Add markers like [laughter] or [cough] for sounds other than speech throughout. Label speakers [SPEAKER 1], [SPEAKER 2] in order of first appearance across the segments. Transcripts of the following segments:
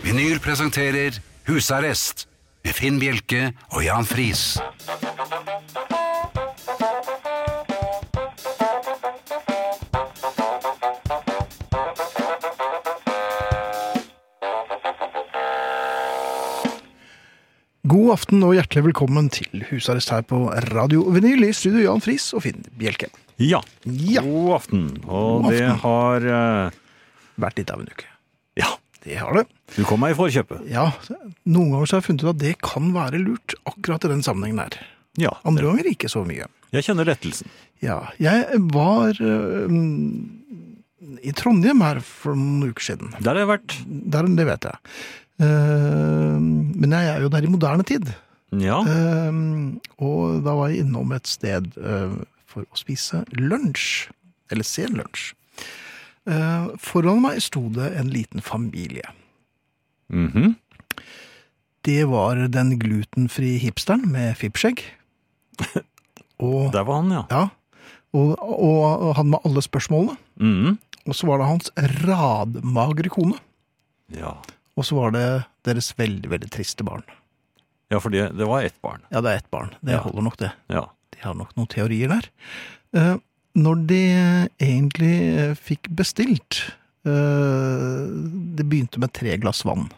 [SPEAKER 1] Vinyl presenterer Husarrest med Finn Bjelke og Jan Friis.
[SPEAKER 2] God aften og hjertelig velkommen til husarrest her på Radio Vinyl i studio Jan Friis og Finn Bjelke.
[SPEAKER 3] Ja.
[SPEAKER 2] Ja.
[SPEAKER 3] God aften.
[SPEAKER 2] God
[SPEAKER 3] Og det
[SPEAKER 2] aften.
[SPEAKER 3] har eh,
[SPEAKER 2] Vært litt av en uke.
[SPEAKER 3] Ja,
[SPEAKER 2] Det har det.
[SPEAKER 3] du kom meg i forkjøpet.
[SPEAKER 2] Ja, noen ganger så har jeg funnet ut at det kan være lurt akkurat i den sammenhengen her.
[SPEAKER 3] Ja.
[SPEAKER 2] Andre ganger ikke så mye.
[SPEAKER 3] Jeg kjenner lettelsen.
[SPEAKER 2] Ja, jeg var øhm, i Trondheim her for noen uker siden.
[SPEAKER 3] Der har jeg vært.
[SPEAKER 2] Der, det vet jeg. Ehm, men jeg er jo der i moderne tid.
[SPEAKER 3] Ja.
[SPEAKER 2] Ehm, og da var jeg innom et sted eh, for å spise lunsj. Eller sen lunsj. Eh, foran meg sto det en liten familie.
[SPEAKER 3] Mhm.
[SPEAKER 2] Det var den glutenfrie hipsteren med fippskjegg. Og,
[SPEAKER 3] Der var han, ja.
[SPEAKER 2] ja, og, og han med alle spørsmålene.
[SPEAKER 3] Mhm.
[SPEAKER 2] Og så var det hans radmagre kone.
[SPEAKER 3] ja.
[SPEAKER 2] Og så var det deres veldig, veldig triste barn.
[SPEAKER 3] Ja, for det, det var ett barn.
[SPEAKER 2] Ja, det er ett barn. Det
[SPEAKER 3] Ja.
[SPEAKER 2] holder nok, det.
[SPEAKER 3] Ja.
[SPEAKER 2] de har nok noen teorier der. Eh, Når de egentlig eh, fikk bestilt eh, Det begynte med tre glass vann.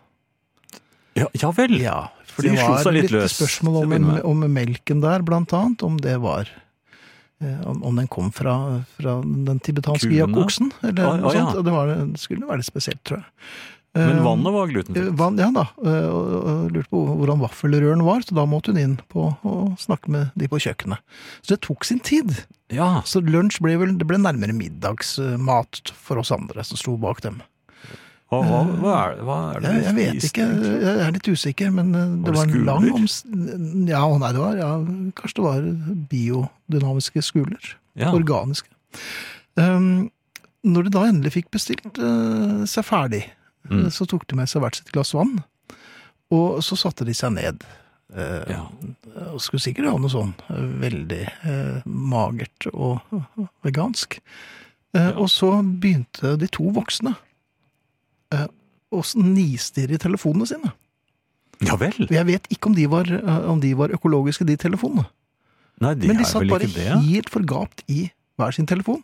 [SPEAKER 3] Ja, ja vel.
[SPEAKER 2] Ja, for
[SPEAKER 3] Så
[SPEAKER 2] det
[SPEAKER 3] de slo
[SPEAKER 2] var
[SPEAKER 3] seg litt
[SPEAKER 2] litt
[SPEAKER 3] løs,
[SPEAKER 2] spørsmål
[SPEAKER 3] til å
[SPEAKER 2] om,
[SPEAKER 3] begynne med.
[SPEAKER 2] om melken der, blant annet. Om det var eh, om, om den kom fra, fra den tibetanske
[SPEAKER 3] Kuene?
[SPEAKER 2] jakkoksen, eller
[SPEAKER 3] Å,
[SPEAKER 2] noe
[SPEAKER 3] å, ja.
[SPEAKER 2] sånt. Det, var, det skulle være litt spesielt, tror jeg.
[SPEAKER 3] Men
[SPEAKER 2] Eh,
[SPEAKER 3] vannet var
[SPEAKER 2] eh,
[SPEAKER 3] glutenfritt.
[SPEAKER 2] Vann, ja da. Eh, og- og Lurte på hvordan vaffelrøren var, så da måtte hun inn på å snakke med de på kjøkkenet. Så det tok sin tid.
[SPEAKER 3] Ja.
[SPEAKER 2] Så lunsj ble vel det ble nærmere middagsmat for oss andre som sto bak dem.
[SPEAKER 3] Hva, hva, hva, er, hva er
[SPEAKER 2] Jeg,
[SPEAKER 3] det vi
[SPEAKER 2] eh, jeg vet
[SPEAKER 3] spiste,
[SPEAKER 2] ikke, eh,
[SPEAKER 3] egentlig?
[SPEAKER 2] jeg er litt usikker, men eh, det
[SPEAKER 3] det
[SPEAKER 2] var en lang
[SPEAKER 3] skuler?
[SPEAKER 2] oms... Ja, å nei, det var ja, Kanskje det var biodynamiske skuler.
[SPEAKER 3] Ja.
[SPEAKER 2] Organiske. Um, når de da endelig fikk bestilt eh, seg ferdig,
[SPEAKER 3] Mm.
[SPEAKER 2] eh, så tok de med seg hvert sitt glass vann. Og så satte de seg ned. eh,
[SPEAKER 3] Ja.
[SPEAKER 2] og skulle sikkert ha noe sånn eh, veldig eh, magert og eh, vegansk. Eh,
[SPEAKER 3] Ja.
[SPEAKER 2] Og så begynte de to voksne eh, å s- nistirre i telefonene sine.
[SPEAKER 3] ja vel.
[SPEAKER 2] Og Jeg vet ikke om de var, eh, om de var økologiske, de telefonene.
[SPEAKER 3] Nei, det
[SPEAKER 2] Men de
[SPEAKER 3] er
[SPEAKER 2] satt
[SPEAKER 3] vel
[SPEAKER 2] bare
[SPEAKER 3] ikke det.
[SPEAKER 2] helt forgapt i hver sin telefon.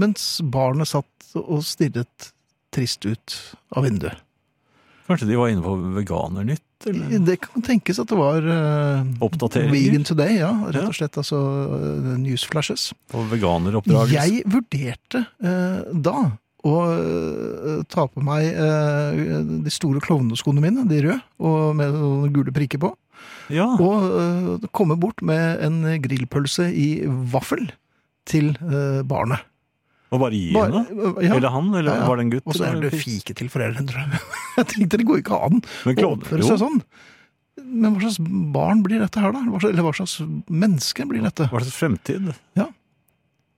[SPEAKER 2] Mens barnet satt og stirret trist ut av vinduet.
[SPEAKER 3] Kanskje de var inne på Veganernytt? Eller?
[SPEAKER 2] Det kan tenkes at det var eh,
[SPEAKER 3] Oppdateringer?
[SPEAKER 2] Vegan Today, ja. Rett
[SPEAKER 3] Ja.
[SPEAKER 2] og slett altså eh, newsflashes.
[SPEAKER 3] På veganeroppdragelse?
[SPEAKER 2] Jeg vurderte eh, da å eh, ta på meg eh, de store klovneskoene mine, de røde, og med sånne gule prikker på.
[SPEAKER 3] Ja.
[SPEAKER 2] Og eh, komme bort med en grillpølse i vaffel til eh, barnet.
[SPEAKER 3] Og bare gi
[SPEAKER 2] Bare-
[SPEAKER 3] henne?
[SPEAKER 2] ja.
[SPEAKER 3] Eller han? Eller
[SPEAKER 2] Ja, ja.
[SPEAKER 3] var det en gutt?
[SPEAKER 2] Og så er
[SPEAKER 3] eller
[SPEAKER 2] det fike til foreldrene, tror jeg. [laughs] Jeg tenkte det går ikke an å
[SPEAKER 3] Men klovner-
[SPEAKER 2] oppføre
[SPEAKER 3] jo.
[SPEAKER 2] seg sånn. Men hva slags barn blir dette her, da? Hva slags, eller hva slags menneske blir dette?
[SPEAKER 3] Hva slags fremtid?
[SPEAKER 2] Ja.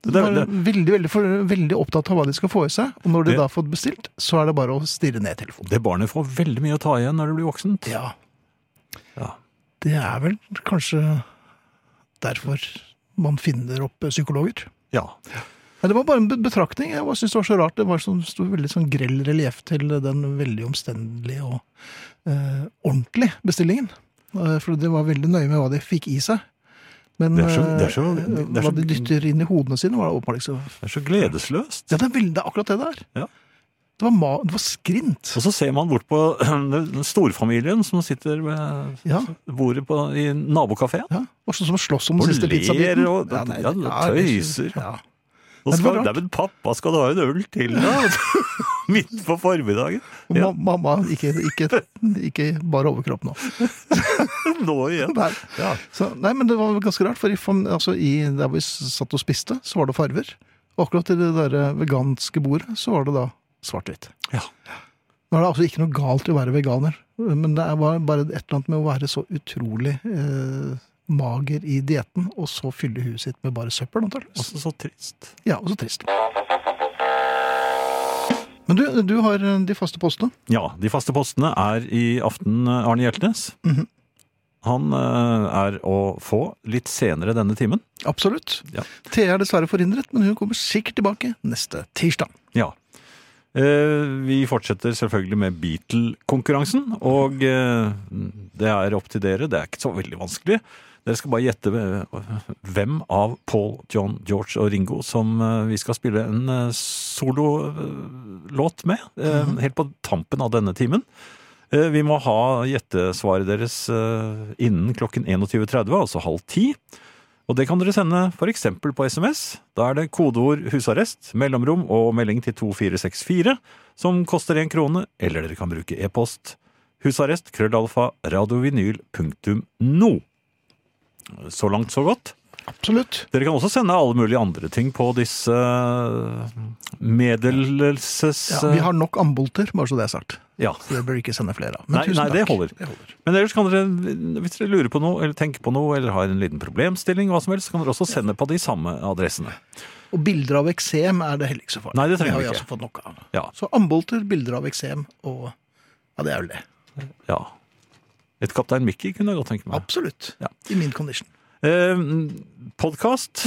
[SPEAKER 3] Det,
[SPEAKER 2] De
[SPEAKER 3] det,
[SPEAKER 2] er
[SPEAKER 3] det,
[SPEAKER 2] veldig, veldig, for, veldig opptatt av hva de skal få i seg, og når de
[SPEAKER 3] Det-
[SPEAKER 2] da har fått bestilt, så er det bare å stirre ned i telefonen.
[SPEAKER 3] det barnet får veldig mye å ta igjen når det blir voksent.
[SPEAKER 2] Ja,
[SPEAKER 3] Ja.
[SPEAKER 2] det er vel kanskje derfor man finner opp eh, psykologer.
[SPEAKER 3] Ja.
[SPEAKER 2] Nei, det var bare en be- betraktning. Jeg bare syntes det var så rart. Det var sånn, sto veldig sånn grell relieff til den veldig omstendelige og eh, ordentlige bestillingen. Eh, For de var veldig nøye med hva de fikk i seg. Men
[SPEAKER 3] Det er så- det er så-
[SPEAKER 2] eh,
[SPEAKER 3] det er
[SPEAKER 2] hva
[SPEAKER 3] så-
[SPEAKER 2] de dytter inn i hodene sine, var det åpenbart ikke så
[SPEAKER 3] Det er så gledesløst.
[SPEAKER 2] Ja, det er veldig det er akkurat det det er.
[SPEAKER 3] Ja.
[SPEAKER 2] Det var, ma det var skrint.
[SPEAKER 3] Og så ser man bort på [clears throat] den storfamilien som sitter ved
[SPEAKER 2] Ja.
[SPEAKER 3] bordet på, i nabokafeen.
[SPEAKER 2] Ja, var sånn som å slåss om
[SPEAKER 3] Og
[SPEAKER 2] den siste
[SPEAKER 3] ler,
[SPEAKER 2] pizzabiten.
[SPEAKER 3] og- ja, det tøyser.
[SPEAKER 2] Ja.
[SPEAKER 3] Og
[SPEAKER 2] det var
[SPEAKER 3] skal,
[SPEAKER 2] rart.
[SPEAKER 3] det er vel pappa, skal du ha en øl til da? [laughs] Midt på formiddagen.
[SPEAKER 2] Og ma- mamma, ikke, ikke, ikke bare overkropp nå. [laughs]
[SPEAKER 3] Nå igjen.
[SPEAKER 2] Nei.
[SPEAKER 3] Ja.
[SPEAKER 2] Så, nei, men det var ganske rart, for i, fam- altså, i, der vi satt og spiste, så var det farver. Og akkurat i det der eh, veganske bordet, så var det da svart-hvitt.
[SPEAKER 3] Ja.
[SPEAKER 2] Nå er det altså ikke noe galt i å være veganer, men det er bare- bare et eller annet med å være så utrolig eh, mager i dietten, og så fylle huet sitt med bare søppel, antakeligvis.
[SPEAKER 3] Også så trist.
[SPEAKER 2] Ja, og så trist. Men du, du har eh, de faste postene.
[SPEAKER 3] Ja, de faste postene er i aften eh, Arne Hjeltnes.
[SPEAKER 2] Mhm.
[SPEAKER 3] Han eh, er å få litt senere denne timen.
[SPEAKER 2] Absolutt.
[SPEAKER 3] Ja.
[SPEAKER 2] Thea er dessverre forhindret, men hun kommer sikkert tilbake neste tirsdag.
[SPEAKER 3] Ja. Eh, Vi fortsetter selvfølgelig med Beatle-konkurransen, og eh, det er opp til dere. Det er ikke så veldig vanskelig. Dere skal bare gjette eh, hvem av Paul, John, George og Ringo som eh, vi skal spille en eh, sololåt med, eh, helt på tampen av denne timen. Eh, Vi må ha gjettesvaret deres eh, innen klokken 21.30, altså halv ti. Og det kan dere sende f.eks. på SMS. Da er det kodeord 'husarrest', mellomrom og melding til 2464, som koster én krone, eller dere kan bruke e-post husarrest krøllalfa radiovinyl.no. Så langt, så godt.
[SPEAKER 2] Absolutt.
[SPEAKER 3] Dere kan også sende alle mulige andre ting på disse eh, meddelelses...
[SPEAKER 2] Ja, vi har nok ambolter, bare så det er sagt.
[SPEAKER 3] Ja.
[SPEAKER 2] Så det bør vi ikke sende flere av.
[SPEAKER 3] Nei, nei, det holder.
[SPEAKER 2] det holder.
[SPEAKER 3] Men ellers kan dere, hvis dere lurer på noe, eller tenker på noe, eller har en liten problemstilling, hva som helst, så kan dere også sende på de samme adressene.
[SPEAKER 2] Og bilder av eksem er det heller ikke så farlig.
[SPEAKER 3] Nei, det trenger vi
[SPEAKER 2] har vi
[SPEAKER 3] ikke.
[SPEAKER 2] altså fått nok av.
[SPEAKER 3] Ja.
[SPEAKER 2] Så ambolter, bilder av eksem og Ja, det er vel det.
[SPEAKER 3] Ja. Et Kaptein Mickey kunne jeg godt tenke meg.
[SPEAKER 2] Absolutt.
[SPEAKER 3] Ja.
[SPEAKER 2] I min condition.
[SPEAKER 3] Eh, Podkast.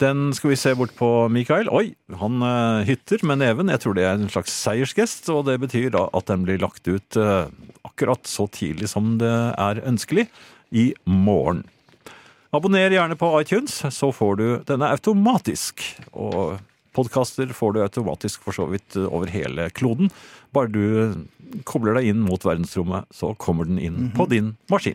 [SPEAKER 3] Den skal vi se bort på Mikael. Oi, han eh, hytter med neven. Jeg tror det er en slags seiersgest, og det betyr da at den blir lagt ut eh, akkurat så tidlig som det er ønskelig i morgen. Abonner gjerne på iTunes, så får du denne automatisk. Og podkaster får du automatisk for så vidt eh, over hele kloden. Bare du eh, kobler deg inn mot verdensrommet, så kommer den inn på din maskin.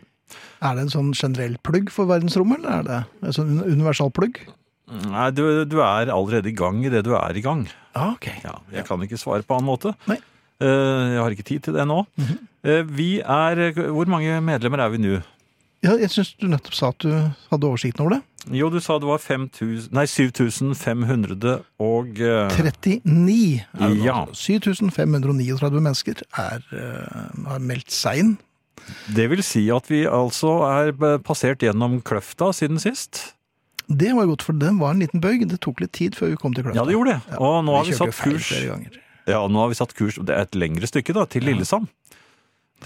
[SPEAKER 2] Er det en sånn generell plugg for verdensrommet, eller er det en sånn universal plugg?
[SPEAKER 3] Nei, du, du er allerede i gang i det du er i gang.
[SPEAKER 2] Ja, ok.
[SPEAKER 3] Ja, jeg kan ikke svare på annen måte.
[SPEAKER 2] Nei. Mhm.
[SPEAKER 3] Eh, Jeg har ikke tid til det nå. Eh, Vi er Hvor mange medlemmer er vi nå?
[SPEAKER 2] Ja, jeg syns du nettopp sa at du hadde oversikten over det.
[SPEAKER 3] Jo, du sa det var 5000 Nei, 7500 og eh,
[SPEAKER 2] 39 er det nå.
[SPEAKER 3] Ja.
[SPEAKER 2] 7539 mennesker er, eh, har meldt seg inn.
[SPEAKER 3] Det vil si at vi altså er b- passert gjennom kløfta siden sist.
[SPEAKER 2] Det var godt, for det var en liten bøyg. Det tok litt tid før vi kom til kløfta.
[SPEAKER 3] Ja, det gjorde det.
[SPEAKER 2] Ja,
[SPEAKER 3] Og nå har vi
[SPEAKER 2] kjørte
[SPEAKER 3] satt
[SPEAKER 2] jo feil
[SPEAKER 3] kurs
[SPEAKER 2] flere ganger.
[SPEAKER 3] Ja, nå har vi satt kurs Det er et lengre stykke, da, til Lillesand.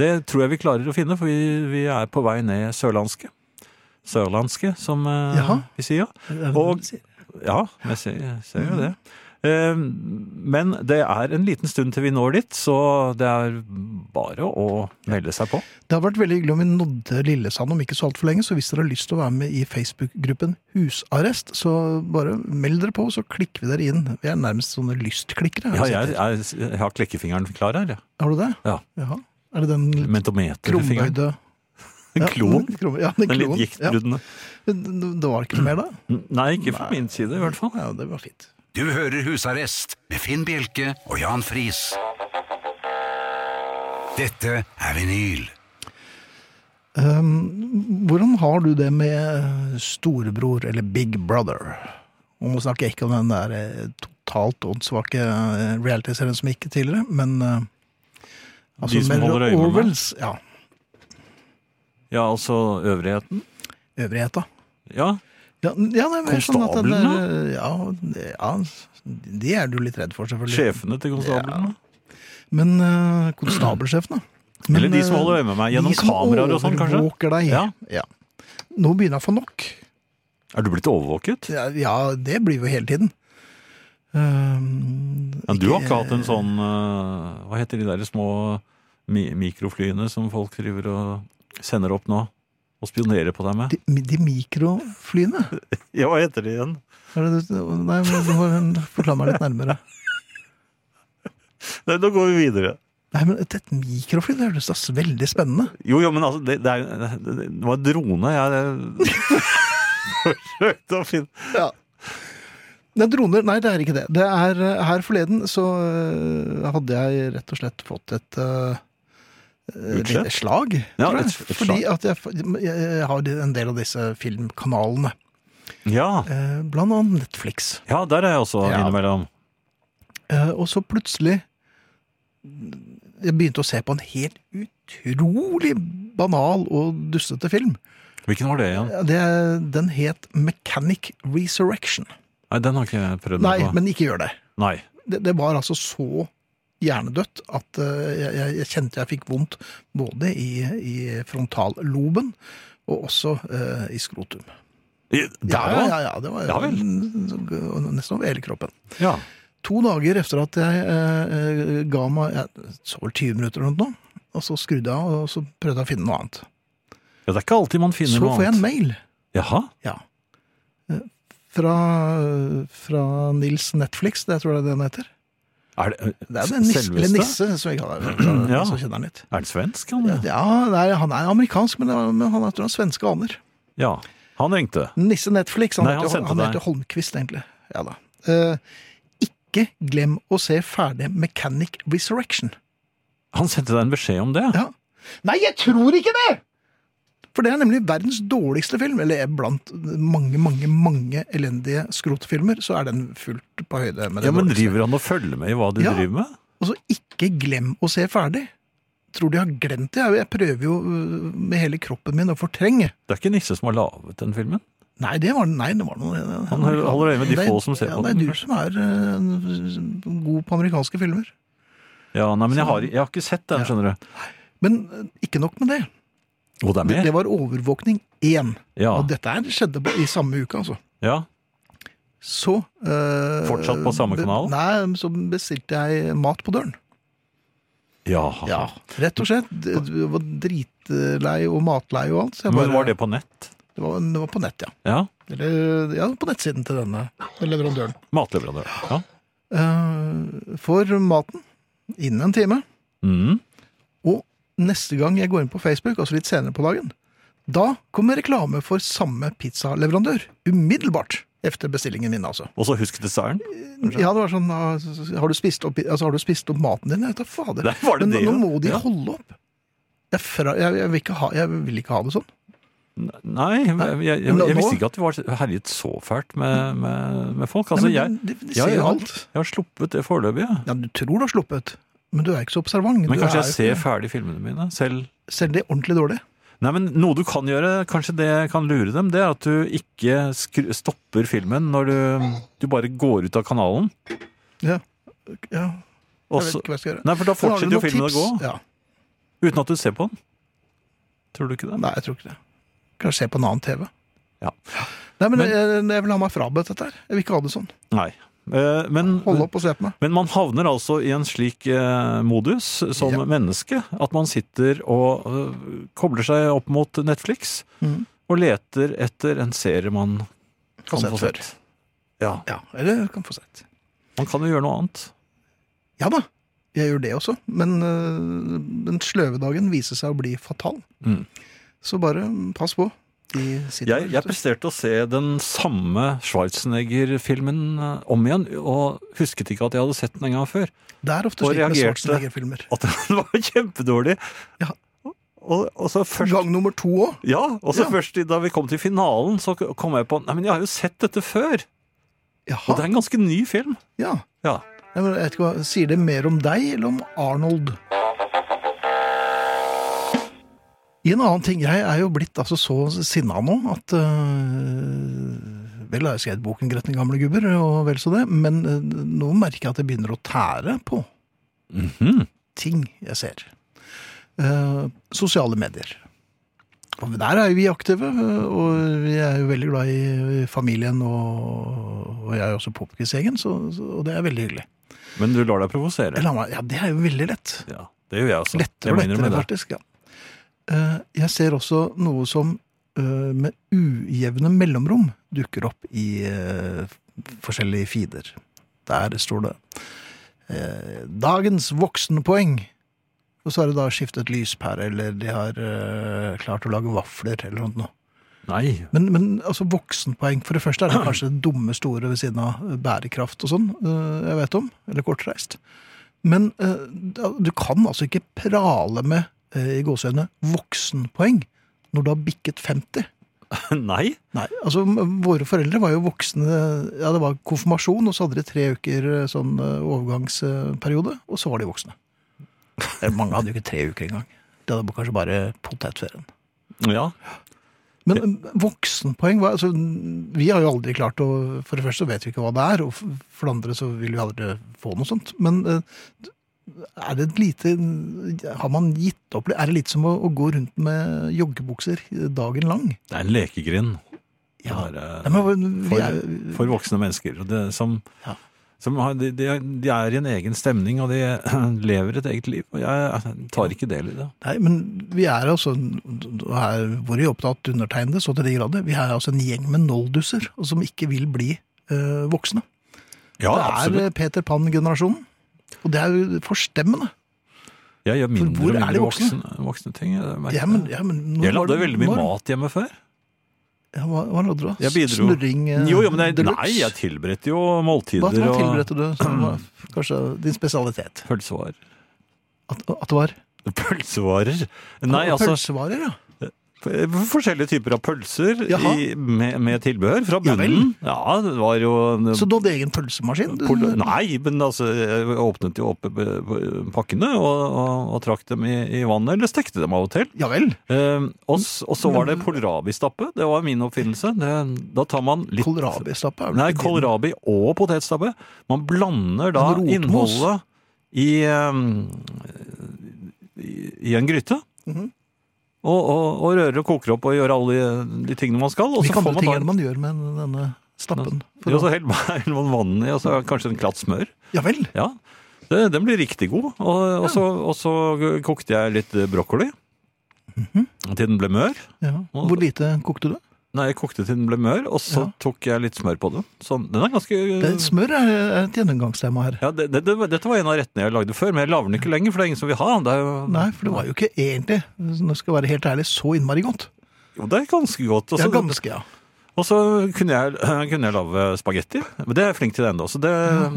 [SPEAKER 3] Det tror jeg vi klarer å finne, for vi, vi er på vei ned sørlandske. Sørlandske, som eh,
[SPEAKER 2] Jaha.
[SPEAKER 3] vi sier. Og- Ja, jeg ser, jeg ser jo det. Eh, Men det er en liten stund til vi når dit, så det er bare å melde seg på.
[SPEAKER 2] Det har vært veldig hyggelig om vi nådde Lillesand om ikke så altfor lenge, så hvis dere har lyst til å være med i Facebook-gruppen Husarrest, så bare meld dere på, så klikker vi dere inn. Vi er nærmest sånne lystklikkere.
[SPEAKER 3] Ja, jeg, jeg, jeg har klekkefingeren klar her. jeg.
[SPEAKER 2] Har du det?
[SPEAKER 3] Ja.
[SPEAKER 2] Jaha. Er det den litt
[SPEAKER 3] Mentometerfingeren.
[SPEAKER 2] krumbøyde
[SPEAKER 3] En
[SPEAKER 2] Ja, den krum-
[SPEAKER 3] klon.
[SPEAKER 2] Mm, ja, den
[SPEAKER 3] Den litt
[SPEAKER 2] kloen.
[SPEAKER 3] giktbrudende.
[SPEAKER 2] Ja. Men Det var ikke noe mer da?
[SPEAKER 3] Nei, ikke fra min side i hvert fall.
[SPEAKER 2] Ja, det var fint.
[SPEAKER 1] Du hører Husarrest med Finn Bjelke og Jan Friis. Dette er vinyl.
[SPEAKER 2] Um, hvordan har du det med eh, storebror, eller big brother? Og nå snakker jeg ikke om den der eh, totalt åndssvake eh, realityserien som gikk tidligere, men eh,
[SPEAKER 3] De som
[SPEAKER 2] med
[SPEAKER 3] holder øye med meg.
[SPEAKER 2] Orwells, Ja,
[SPEAKER 3] Ja, altså øvrigheten.
[SPEAKER 2] øvrigheta.
[SPEAKER 3] Ja,
[SPEAKER 2] Ja, n- ja, det er mer sånn at den er-
[SPEAKER 3] Konstabelen,
[SPEAKER 2] ja, det- ja, de er du litt rredd for, selvfølgelig.
[SPEAKER 3] sjefene til konstablene.
[SPEAKER 2] Men eh, konstabelsjefene. Men,
[SPEAKER 3] Eller de som
[SPEAKER 2] eh,
[SPEAKER 3] holder øye med meg gjennom kameraer og sånn,
[SPEAKER 2] De som
[SPEAKER 3] kanskje.
[SPEAKER 2] overvåker deg.
[SPEAKER 3] Ja.
[SPEAKER 2] Ja. Nå begynner jeg å få nok.
[SPEAKER 3] Er du blitt overvåket?
[SPEAKER 2] Ja, ja, det blir jo hele tiden. Ehm,
[SPEAKER 3] Ja, du har ikke hatt en
[SPEAKER 2] eh,
[SPEAKER 3] sånn eh, Hva heter de der små mi mikroflyene som folk driver og sender opp nå? Og spionerer på deg med?
[SPEAKER 2] De, de mikroflyene?
[SPEAKER 3] Ja, hva heter de igjen?
[SPEAKER 2] Er det, det- nei, men du må forklare meg litt nærmere.
[SPEAKER 3] Nei, nå går vi videre.
[SPEAKER 2] Nei, men et, et mikrofly, det høres da s- veldig spennende.
[SPEAKER 3] Jo, jo, men altså, det, det, er, det, det var en drone jeg [laughs] forsøkte å finne
[SPEAKER 2] Ja. Det er droner. Nei, det er ikke det. Det er eh, Her forleden så eh, hadde jeg rett og slett fått et eh, eh,
[SPEAKER 3] Utslett?
[SPEAKER 2] lite slag.
[SPEAKER 3] Ja,
[SPEAKER 2] tror jeg.
[SPEAKER 3] et- et
[SPEAKER 2] Fordi at jeg, f- jeg har en del av disse filmkanalene.
[SPEAKER 3] Ja,
[SPEAKER 2] eh, Blant annet Netflix.
[SPEAKER 3] ja der er jeg også
[SPEAKER 2] Ja.
[SPEAKER 3] innimellom.
[SPEAKER 2] Eh, Og så plutselig Jeg begynte å se på en helt utrolig banal og dustete film.
[SPEAKER 3] Hvilken var det igjen?
[SPEAKER 2] Det, den het Mechanic Resurrection.
[SPEAKER 3] Nei, den har ikke jeg prøvd
[SPEAKER 2] Nei,
[SPEAKER 3] meg på.
[SPEAKER 2] men ikke gjør det.
[SPEAKER 3] Nei.
[SPEAKER 2] Det, det var altså så hjernedødt at eh, jeg, jeg- jeg kjente jeg fikk vondt både i, i frontalloben og også eh, i skrotum.
[SPEAKER 3] I- Der
[SPEAKER 2] Ja, ja,
[SPEAKER 3] òg?
[SPEAKER 2] ja. Det var
[SPEAKER 3] Ja vel.
[SPEAKER 2] nesten over hele kroppen.
[SPEAKER 3] Ja.
[SPEAKER 2] to dager etter at jeg eh, eh, ga meg jeg, så vel 20 minutter eller noe, nå, og så skrudde jeg av og så prøvde jeg å finne noe annet.
[SPEAKER 3] Ja, det er ikke alltid man finner
[SPEAKER 2] Så
[SPEAKER 3] noe
[SPEAKER 2] får jeg en
[SPEAKER 3] annet.
[SPEAKER 2] mail
[SPEAKER 3] Jaha,
[SPEAKER 2] ja. Eh, fra, fra Nils Netflix, det tror jeg det er det den heter.
[SPEAKER 3] er det,
[SPEAKER 2] Det er den nisse, eller
[SPEAKER 3] selveste?
[SPEAKER 2] nisse som jeg kaller den.
[SPEAKER 3] [clears throat] Ja.
[SPEAKER 2] Så kjenner jeg den litt.
[SPEAKER 3] Er det svensk, han?
[SPEAKER 2] Ja,
[SPEAKER 3] Ja.
[SPEAKER 2] nei, han er amerikansk, men, men han er, tror jeg har svenske aner.
[SPEAKER 3] ja. Han ringte.
[SPEAKER 2] Nisse Netflix, han,
[SPEAKER 3] Nei, han
[SPEAKER 2] heter,
[SPEAKER 3] sendte
[SPEAKER 2] han,
[SPEAKER 3] deg.
[SPEAKER 2] heter Holmquist, egentlig. Ja da. Eh, ikke glem å se ferdig Mechanic Resurrection.
[SPEAKER 3] Han sendte deg en beskjed om det?
[SPEAKER 2] Ja. Nei, jeg tror ikke det! For det er nemlig verdens dårligste film, eller blant mange, mange, mange elendige skrotfilmer, så er den fullt på høyde med det
[SPEAKER 3] Ja, Men
[SPEAKER 2] dårligste.
[SPEAKER 3] driver han og følger med i hva de
[SPEAKER 2] Ja.
[SPEAKER 3] driver med?
[SPEAKER 2] Og så ikke glem å se ferdig. Tror de har glemt det? Jeg- Jeg prøver jo øh, med hele kroppen min å fortrenge.
[SPEAKER 3] Det er ikke Nisse som har laget den filmen?
[SPEAKER 2] Nei, det var, nei, det var noe
[SPEAKER 3] Han holder øye med de
[SPEAKER 2] Det-
[SPEAKER 3] få som ser
[SPEAKER 2] ja,
[SPEAKER 3] på den.
[SPEAKER 2] Det er du som er øh, god på amerikanske filmer.
[SPEAKER 3] Ja, nei, men jeg har, jeg har ikke sett den,
[SPEAKER 2] Ja.
[SPEAKER 3] skjønner du.
[SPEAKER 2] Men øh, ikke nok med det.
[SPEAKER 3] Og det er
[SPEAKER 2] Det
[SPEAKER 3] med?
[SPEAKER 2] var overvåkning én.
[SPEAKER 3] Ja.
[SPEAKER 2] Og dette her skjedde på, i samme uke, altså.
[SPEAKER 3] ja.
[SPEAKER 2] Så øh,
[SPEAKER 3] Fortsatt på samme
[SPEAKER 2] be-
[SPEAKER 3] kanal?
[SPEAKER 2] Nei, så bestilte jeg mat på døren.
[SPEAKER 3] Jaha.
[SPEAKER 2] Ja, Rett og slett. D- d- var dritlei og matlei og alt. Så jeg
[SPEAKER 3] Men
[SPEAKER 2] bare-
[SPEAKER 3] var det på nett?
[SPEAKER 2] det var, det var på nett, ja.
[SPEAKER 3] Ja.
[SPEAKER 2] Eller ja, på nettsiden til denne leverandøren.
[SPEAKER 3] Matleverandør. Ja.
[SPEAKER 2] Eh, får maten innen en time.
[SPEAKER 3] Mm.
[SPEAKER 2] Og neste gang jeg går inn på Facebook, altså litt senere på dagen, da kommer reklame for samme pizzaleverandør. Umiddelbart etter bestillingen min, altså.
[SPEAKER 3] Og så husk desserten.
[SPEAKER 2] Ja, det var sånn ah, Har du spist opp, altså, har du spist opp maten din? Jeg vet da fader.
[SPEAKER 3] Der var det
[SPEAKER 2] Men
[SPEAKER 3] det,
[SPEAKER 2] nå
[SPEAKER 3] ja.
[SPEAKER 2] må de
[SPEAKER 3] Ja.
[SPEAKER 2] holde opp. Jeg, fra, jeg, jeg, vil ikke ha, jeg vil ikke ha det sånn.
[SPEAKER 3] Nei, jeg, jeg, jeg,
[SPEAKER 2] Nå-
[SPEAKER 3] jeg visste
[SPEAKER 2] nå-
[SPEAKER 3] ikke at det var herjet så fælt med, med, med folk.
[SPEAKER 2] Nei,
[SPEAKER 3] Altså,
[SPEAKER 2] men
[SPEAKER 3] jeg,
[SPEAKER 2] de, de, de
[SPEAKER 3] Ja,
[SPEAKER 2] ser
[SPEAKER 3] ja.
[SPEAKER 2] jo alt.
[SPEAKER 3] jeg har sluppet det foreløpig. jeg.
[SPEAKER 2] Ja, du tror du har sluppet, men du er ikke så observant.
[SPEAKER 3] Men
[SPEAKER 2] Du er
[SPEAKER 3] kanskje jeg
[SPEAKER 2] jo
[SPEAKER 3] ser
[SPEAKER 2] ikke-
[SPEAKER 3] ferdig filmene mine selv.
[SPEAKER 2] Selv det ordentlig dårlige.
[SPEAKER 3] Nei, men Noe du kan gjøre, kanskje det kan lure dem, det er at du ikke skru, stopper filmen når du, du bare går ut av kanalen.
[SPEAKER 2] Ja. ja.
[SPEAKER 3] Og
[SPEAKER 2] Jeg vet
[SPEAKER 3] så,
[SPEAKER 2] ikke hva jeg skal gjøre.
[SPEAKER 3] nei, for
[SPEAKER 2] Men har
[SPEAKER 3] da
[SPEAKER 2] du
[SPEAKER 3] fortsetter jo
[SPEAKER 2] noen
[SPEAKER 3] filmen å gå.
[SPEAKER 2] tips? Ja.
[SPEAKER 3] Uten at du ser på den. Tror du ikke det?
[SPEAKER 2] Nei, jeg tror ikke det. Kanskje se på en annen TV.
[SPEAKER 3] Ja.
[SPEAKER 2] Nei, men,
[SPEAKER 3] Men-
[SPEAKER 2] jeg, jeg vil ha meg frabedt dette her. Jeg vil ikke ha det sånn.
[SPEAKER 3] Nei. Eh, Men,
[SPEAKER 2] Hold opp og se på meg.
[SPEAKER 3] men man havner altså i en slik eh, modus som
[SPEAKER 2] Ja.
[SPEAKER 3] menneske, at man sitter og eh, kobler seg opp mot Netflix
[SPEAKER 2] Mhm.
[SPEAKER 3] og leter etter en serie man kan
[SPEAKER 2] sett
[SPEAKER 3] få
[SPEAKER 2] før.
[SPEAKER 3] sett. Ja,
[SPEAKER 2] Ja, eller kan få sett.
[SPEAKER 3] Man kan jo gjøre noe annet.
[SPEAKER 2] Ja da, jeg gjør det også. Men øh, den sløve dagen viser seg å bli fatal.
[SPEAKER 3] Mm.
[SPEAKER 2] Så bare mm, pass på. De sitter
[SPEAKER 3] Jeg, jeg presterte å se den samme Schwarzenegger-filmen eh, om igjen, og husket ikke at jeg hadde sett den en gang før.
[SPEAKER 2] Det er ofte
[SPEAKER 3] og
[SPEAKER 2] slik med
[SPEAKER 3] reagerte.
[SPEAKER 2] Schwarzenegger-filmer.
[SPEAKER 3] At [laughs] den var kjempedårlig.
[SPEAKER 2] Ja.
[SPEAKER 3] Og, og så først,
[SPEAKER 2] Gang nummer to òg.
[SPEAKER 3] ja, og så
[SPEAKER 2] Ja.
[SPEAKER 3] først i- da vi kom til finalen, så kom jeg på Nei, men jeg har jo sett dette før! Og det
[SPEAKER 2] Jaha.
[SPEAKER 3] er en ganske ny film.
[SPEAKER 2] Ja.
[SPEAKER 3] Ja.
[SPEAKER 2] Nei, men jeg vet ikke hva, Sier det mer om deg eller om Arnold? I en annen ting, Jeg er jo blitt altså så sinna nå at øh, Vel har jeg skrevet boken 'Gretne gamle gubber', og vel så det, men øh, nå merker jeg at jeg begynner å tære på
[SPEAKER 3] Mhm.
[SPEAKER 2] ting jeg ser. Eh, sosiale medier. Og der er jo vi aktive, eh, og vi er jo veldig glad i familien, og, og jeg er jo også popquiz-gjengen, så- så- og det er veldig hyggelig.
[SPEAKER 3] Men du lar deg provosere.
[SPEAKER 2] Eller, ja, det er jo veldig lett.
[SPEAKER 3] Ja, det gjør jeg også.
[SPEAKER 2] Lettere
[SPEAKER 3] Jeg
[SPEAKER 2] og
[SPEAKER 3] må innrømme
[SPEAKER 2] lettere,
[SPEAKER 3] det.
[SPEAKER 2] faktisk. Ja. Eh, Jeg ser også noe som eh, med ujevne mellomrom dukker opp i eh, forskjellige feeder. Der står det eh, 'Dagens voksenpoeng'. Og så er det da skiftet lyspære, eller de har eh, klart å lage vafler, eller noe. sånt.
[SPEAKER 3] Nei.
[SPEAKER 2] Men, men altså voksenpoeng, for det første er det kanskje det dumme store ved siden av bærekraft og sånn, eh, jeg vet om, eller kortreist. Men eh, da- du kan altså ikke prale med, eh, i gåsøgne, voksenpoeng når du har bikket 50.
[SPEAKER 3] Nei? [laughs]
[SPEAKER 2] Nei, altså m- våre foreldre var jo voksne, ja det var konfirmasjon, og så hadde de tre uker eh, sånn eh, overgangsperiode, og så var de voksne. Eller, [laughs] Mange hadde jo ikke tre uker engang. De hadde kanskje bare potetferien.
[SPEAKER 3] Ja.
[SPEAKER 2] Men eh, voksenpoeng hva- altså, Vi har jo aldri klart å For det første vet vi ikke hva det er, og f- for det andre så vil vi aldri få noe sånt. Men eh, er det et lite Har man gitt opp Er det litt som å, å gå rundt med joggebukser eh, dagen lang?
[SPEAKER 3] Det er en lekegrind.
[SPEAKER 2] Ja.
[SPEAKER 3] Det er, eh,
[SPEAKER 2] Nei, men, vi
[SPEAKER 3] for,
[SPEAKER 2] er,
[SPEAKER 3] for voksne mennesker. og Det, som,
[SPEAKER 2] Ja.
[SPEAKER 3] Som har, de, de, de er i en egen stemning, og de [clears throat] lever et eget liv. Og jeg altså, tar ikke del i det.
[SPEAKER 2] Nei, men vi er altså her, Hvor er opptatt undertegnede så til de grader? Vi er altså en gjeng med nolduser og som ikke vil bli eh, voksne.
[SPEAKER 3] Ja,
[SPEAKER 2] det er Peter Pan-generasjonen. Og det er jo forstemmende.
[SPEAKER 3] Jeg gjør mindre
[SPEAKER 2] hvor er
[SPEAKER 3] og
[SPEAKER 2] de
[SPEAKER 3] mindre
[SPEAKER 2] voksne?
[SPEAKER 3] voksne, voksne ting. Jeg, merker
[SPEAKER 2] Ja, men,
[SPEAKER 3] det.
[SPEAKER 2] ja, men,
[SPEAKER 3] jeg lagde
[SPEAKER 2] det
[SPEAKER 3] veldig mye mat hjemme før.
[SPEAKER 2] Ja, hva, hva lagde du? da?
[SPEAKER 3] Jeg bidro.
[SPEAKER 2] Snurring eh,
[SPEAKER 3] Jo, jo, men jeg,
[SPEAKER 2] deluxe?
[SPEAKER 3] nei, jeg tilberedte jo
[SPEAKER 2] Hva
[SPEAKER 3] måltider
[SPEAKER 2] hva
[SPEAKER 3] og
[SPEAKER 2] tilberedte du som
[SPEAKER 3] [clears throat]
[SPEAKER 2] var kanskje din spesialitet?
[SPEAKER 3] pølsevarer.
[SPEAKER 2] At, at det var
[SPEAKER 3] Pølsevarer? Nei,
[SPEAKER 2] Ah,
[SPEAKER 3] altså
[SPEAKER 2] pølsevarer, ja.
[SPEAKER 3] f- eh, forskjellige typer av pølser i,
[SPEAKER 2] Jaha.
[SPEAKER 3] med, med tilbehør fra
[SPEAKER 2] Ja vel.
[SPEAKER 3] bunnen. Ja, det var jo en-
[SPEAKER 2] Så du hadde egen pølsemaskin? Du-
[SPEAKER 3] Pol- Nei, men altså, jeg åpnet jo opp eh, pakkene og, og, og trakk dem i, i vannet, eller stekte dem av og til.
[SPEAKER 2] Ja vel.
[SPEAKER 3] Eh, og, s- og så var
[SPEAKER 2] Mm.
[SPEAKER 3] det kålrabistappe. Det var min oppfinnelse. Det, da tar man litt
[SPEAKER 2] Kålrabistappe er vel
[SPEAKER 3] Nei,
[SPEAKER 2] ikke din-
[SPEAKER 3] kålrabi og potetstappe. Man blander da
[SPEAKER 2] En Sånn rotmos.
[SPEAKER 3] innholdet i, um, i, i en gryte.
[SPEAKER 2] Mhm.
[SPEAKER 3] og, og, og rører og koker opp og gjør alle de, de tingene man skal. Og så
[SPEAKER 2] Hvilke
[SPEAKER 3] får
[SPEAKER 2] andre
[SPEAKER 3] man
[SPEAKER 2] ting
[SPEAKER 3] da
[SPEAKER 2] er det man gjør med denne stappen? For
[SPEAKER 3] ja, så
[SPEAKER 2] å-
[SPEAKER 3] heller [laughs] man- heller man vann i, og så kanskje en klatt smør.
[SPEAKER 2] Ja vel.
[SPEAKER 3] Ja, det, Den blir riktig god. Og, og, så, og så kokte jeg litt brokkoli.
[SPEAKER 2] Mhm.
[SPEAKER 3] Til den ble mør.
[SPEAKER 2] Ja. Hvor lite kokte du?
[SPEAKER 3] Nei, jeg kokte til den ble mør, og så
[SPEAKER 2] Ja.
[SPEAKER 3] tok jeg litt smør på den. Så den er ganske
[SPEAKER 2] Det, smør er er et gjennomgangstema her.
[SPEAKER 3] Ja, det, det, det, var- Dette var en av rettene jeg lagde før, men jeg lager den ikke lenger, for det er ingen som vil ha den. Det er jo,
[SPEAKER 2] Nei, for det var jo ikke egentlig, hvis jeg skal være helt ærlig, så innmari godt.
[SPEAKER 3] jo, det er ganske godt. Og
[SPEAKER 2] Ja,
[SPEAKER 3] så-
[SPEAKER 2] ganske, ja.
[SPEAKER 3] Og så kunne jeg, [clears throat] kunne jeg lage spagetti. Men det er jeg flink til ennå, så det,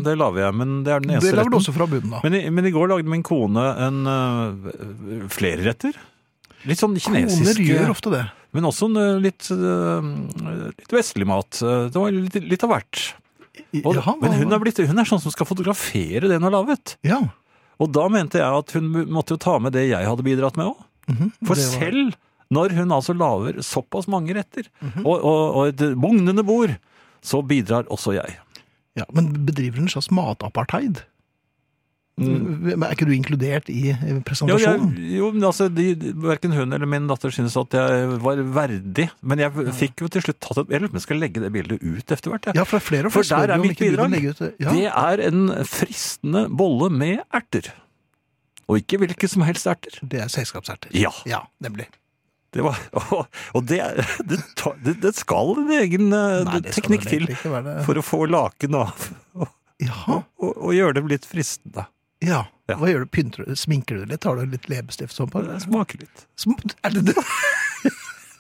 [SPEAKER 3] det lager jeg. Men det er den eneste
[SPEAKER 2] Det lager du
[SPEAKER 3] retten.
[SPEAKER 2] også fra bunnen av.
[SPEAKER 3] Men, i- men i går lagde min kone en øh, flere retter. Litt sånn
[SPEAKER 2] Koner gjør
[SPEAKER 3] kinesisk,
[SPEAKER 2] ofte det.
[SPEAKER 3] men også en, øh, litt, øh, litt vestlig mat. Eh, Det var litt, litt av hvert. Og,
[SPEAKER 2] Jaha,
[SPEAKER 3] men
[SPEAKER 2] hva-
[SPEAKER 3] hun er, blitt, hun er sånn som skal fotografere det hun har laget.
[SPEAKER 2] Ja.
[SPEAKER 3] Og da mente jeg at hun måtte jo ta med det jeg hadde bidratt med òg. For
[SPEAKER 2] mhm. det var-
[SPEAKER 3] selv når hun altså lager såpass mange retter,
[SPEAKER 2] Mhm.
[SPEAKER 3] og, og, og et bugnende bord, så bidrar også jeg.
[SPEAKER 2] ja. Men bedriver du en slags matapartheid?
[SPEAKER 3] Mm.
[SPEAKER 2] Men Er ikke du inkludert i i
[SPEAKER 3] Jo, jeg,
[SPEAKER 2] presentasjonen?
[SPEAKER 3] jo men altså, de, Verken hun eller min datter synes at jeg var verdig. Men jeg fikk jo til slutt tatt et Jeg lurer på om jeg skal legge det bildet ut etter hvert. jeg.
[SPEAKER 2] Ja, fra flere og
[SPEAKER 3] For
[SPEAKER 2] flere spør
[SPEAKER 3] der er
[SPEAKER 2] jo om
[SPEAKER 3] mitt
[SPEAKER 2] ikke du kan
[SPEAKER 3] bidrag.
[SPEAKER 2] legge ut det. Ja.
[SPEAKER 3] Det er en fristende bolle med erter. Og ikke hvilke som helst erter.
[SPEAKER 2] Det er selskapserter.
[SPEAKER 3] Ja.
[SPEAKER 2] Ja, nemlig.
[SPEAKER 3] Det var, [laughs] og, og det, er- det, tar- det, det skal en egen eh,
[SPEAKER 2] Nei, det skal vel
[SPEAKER 3] teknikk til
[SPEAKER 2] egentlig ikke være det.
[SPEAKER 3] for å få laken av og,
[SPEAKER 2] Jaha.
[SPEAKER 3] og, og gjøre dem litt fristende.
[SPEAKER 2] Ja.
[SPEAKER 3] Ja.
[SPEAKER 2] Hva gjør du? Pynter du? Sminker du litt? Har du litt leppestift sånn på?
[SPEAKER 3] Smake litt.
[SPEAKER 2] Sm- Er det det?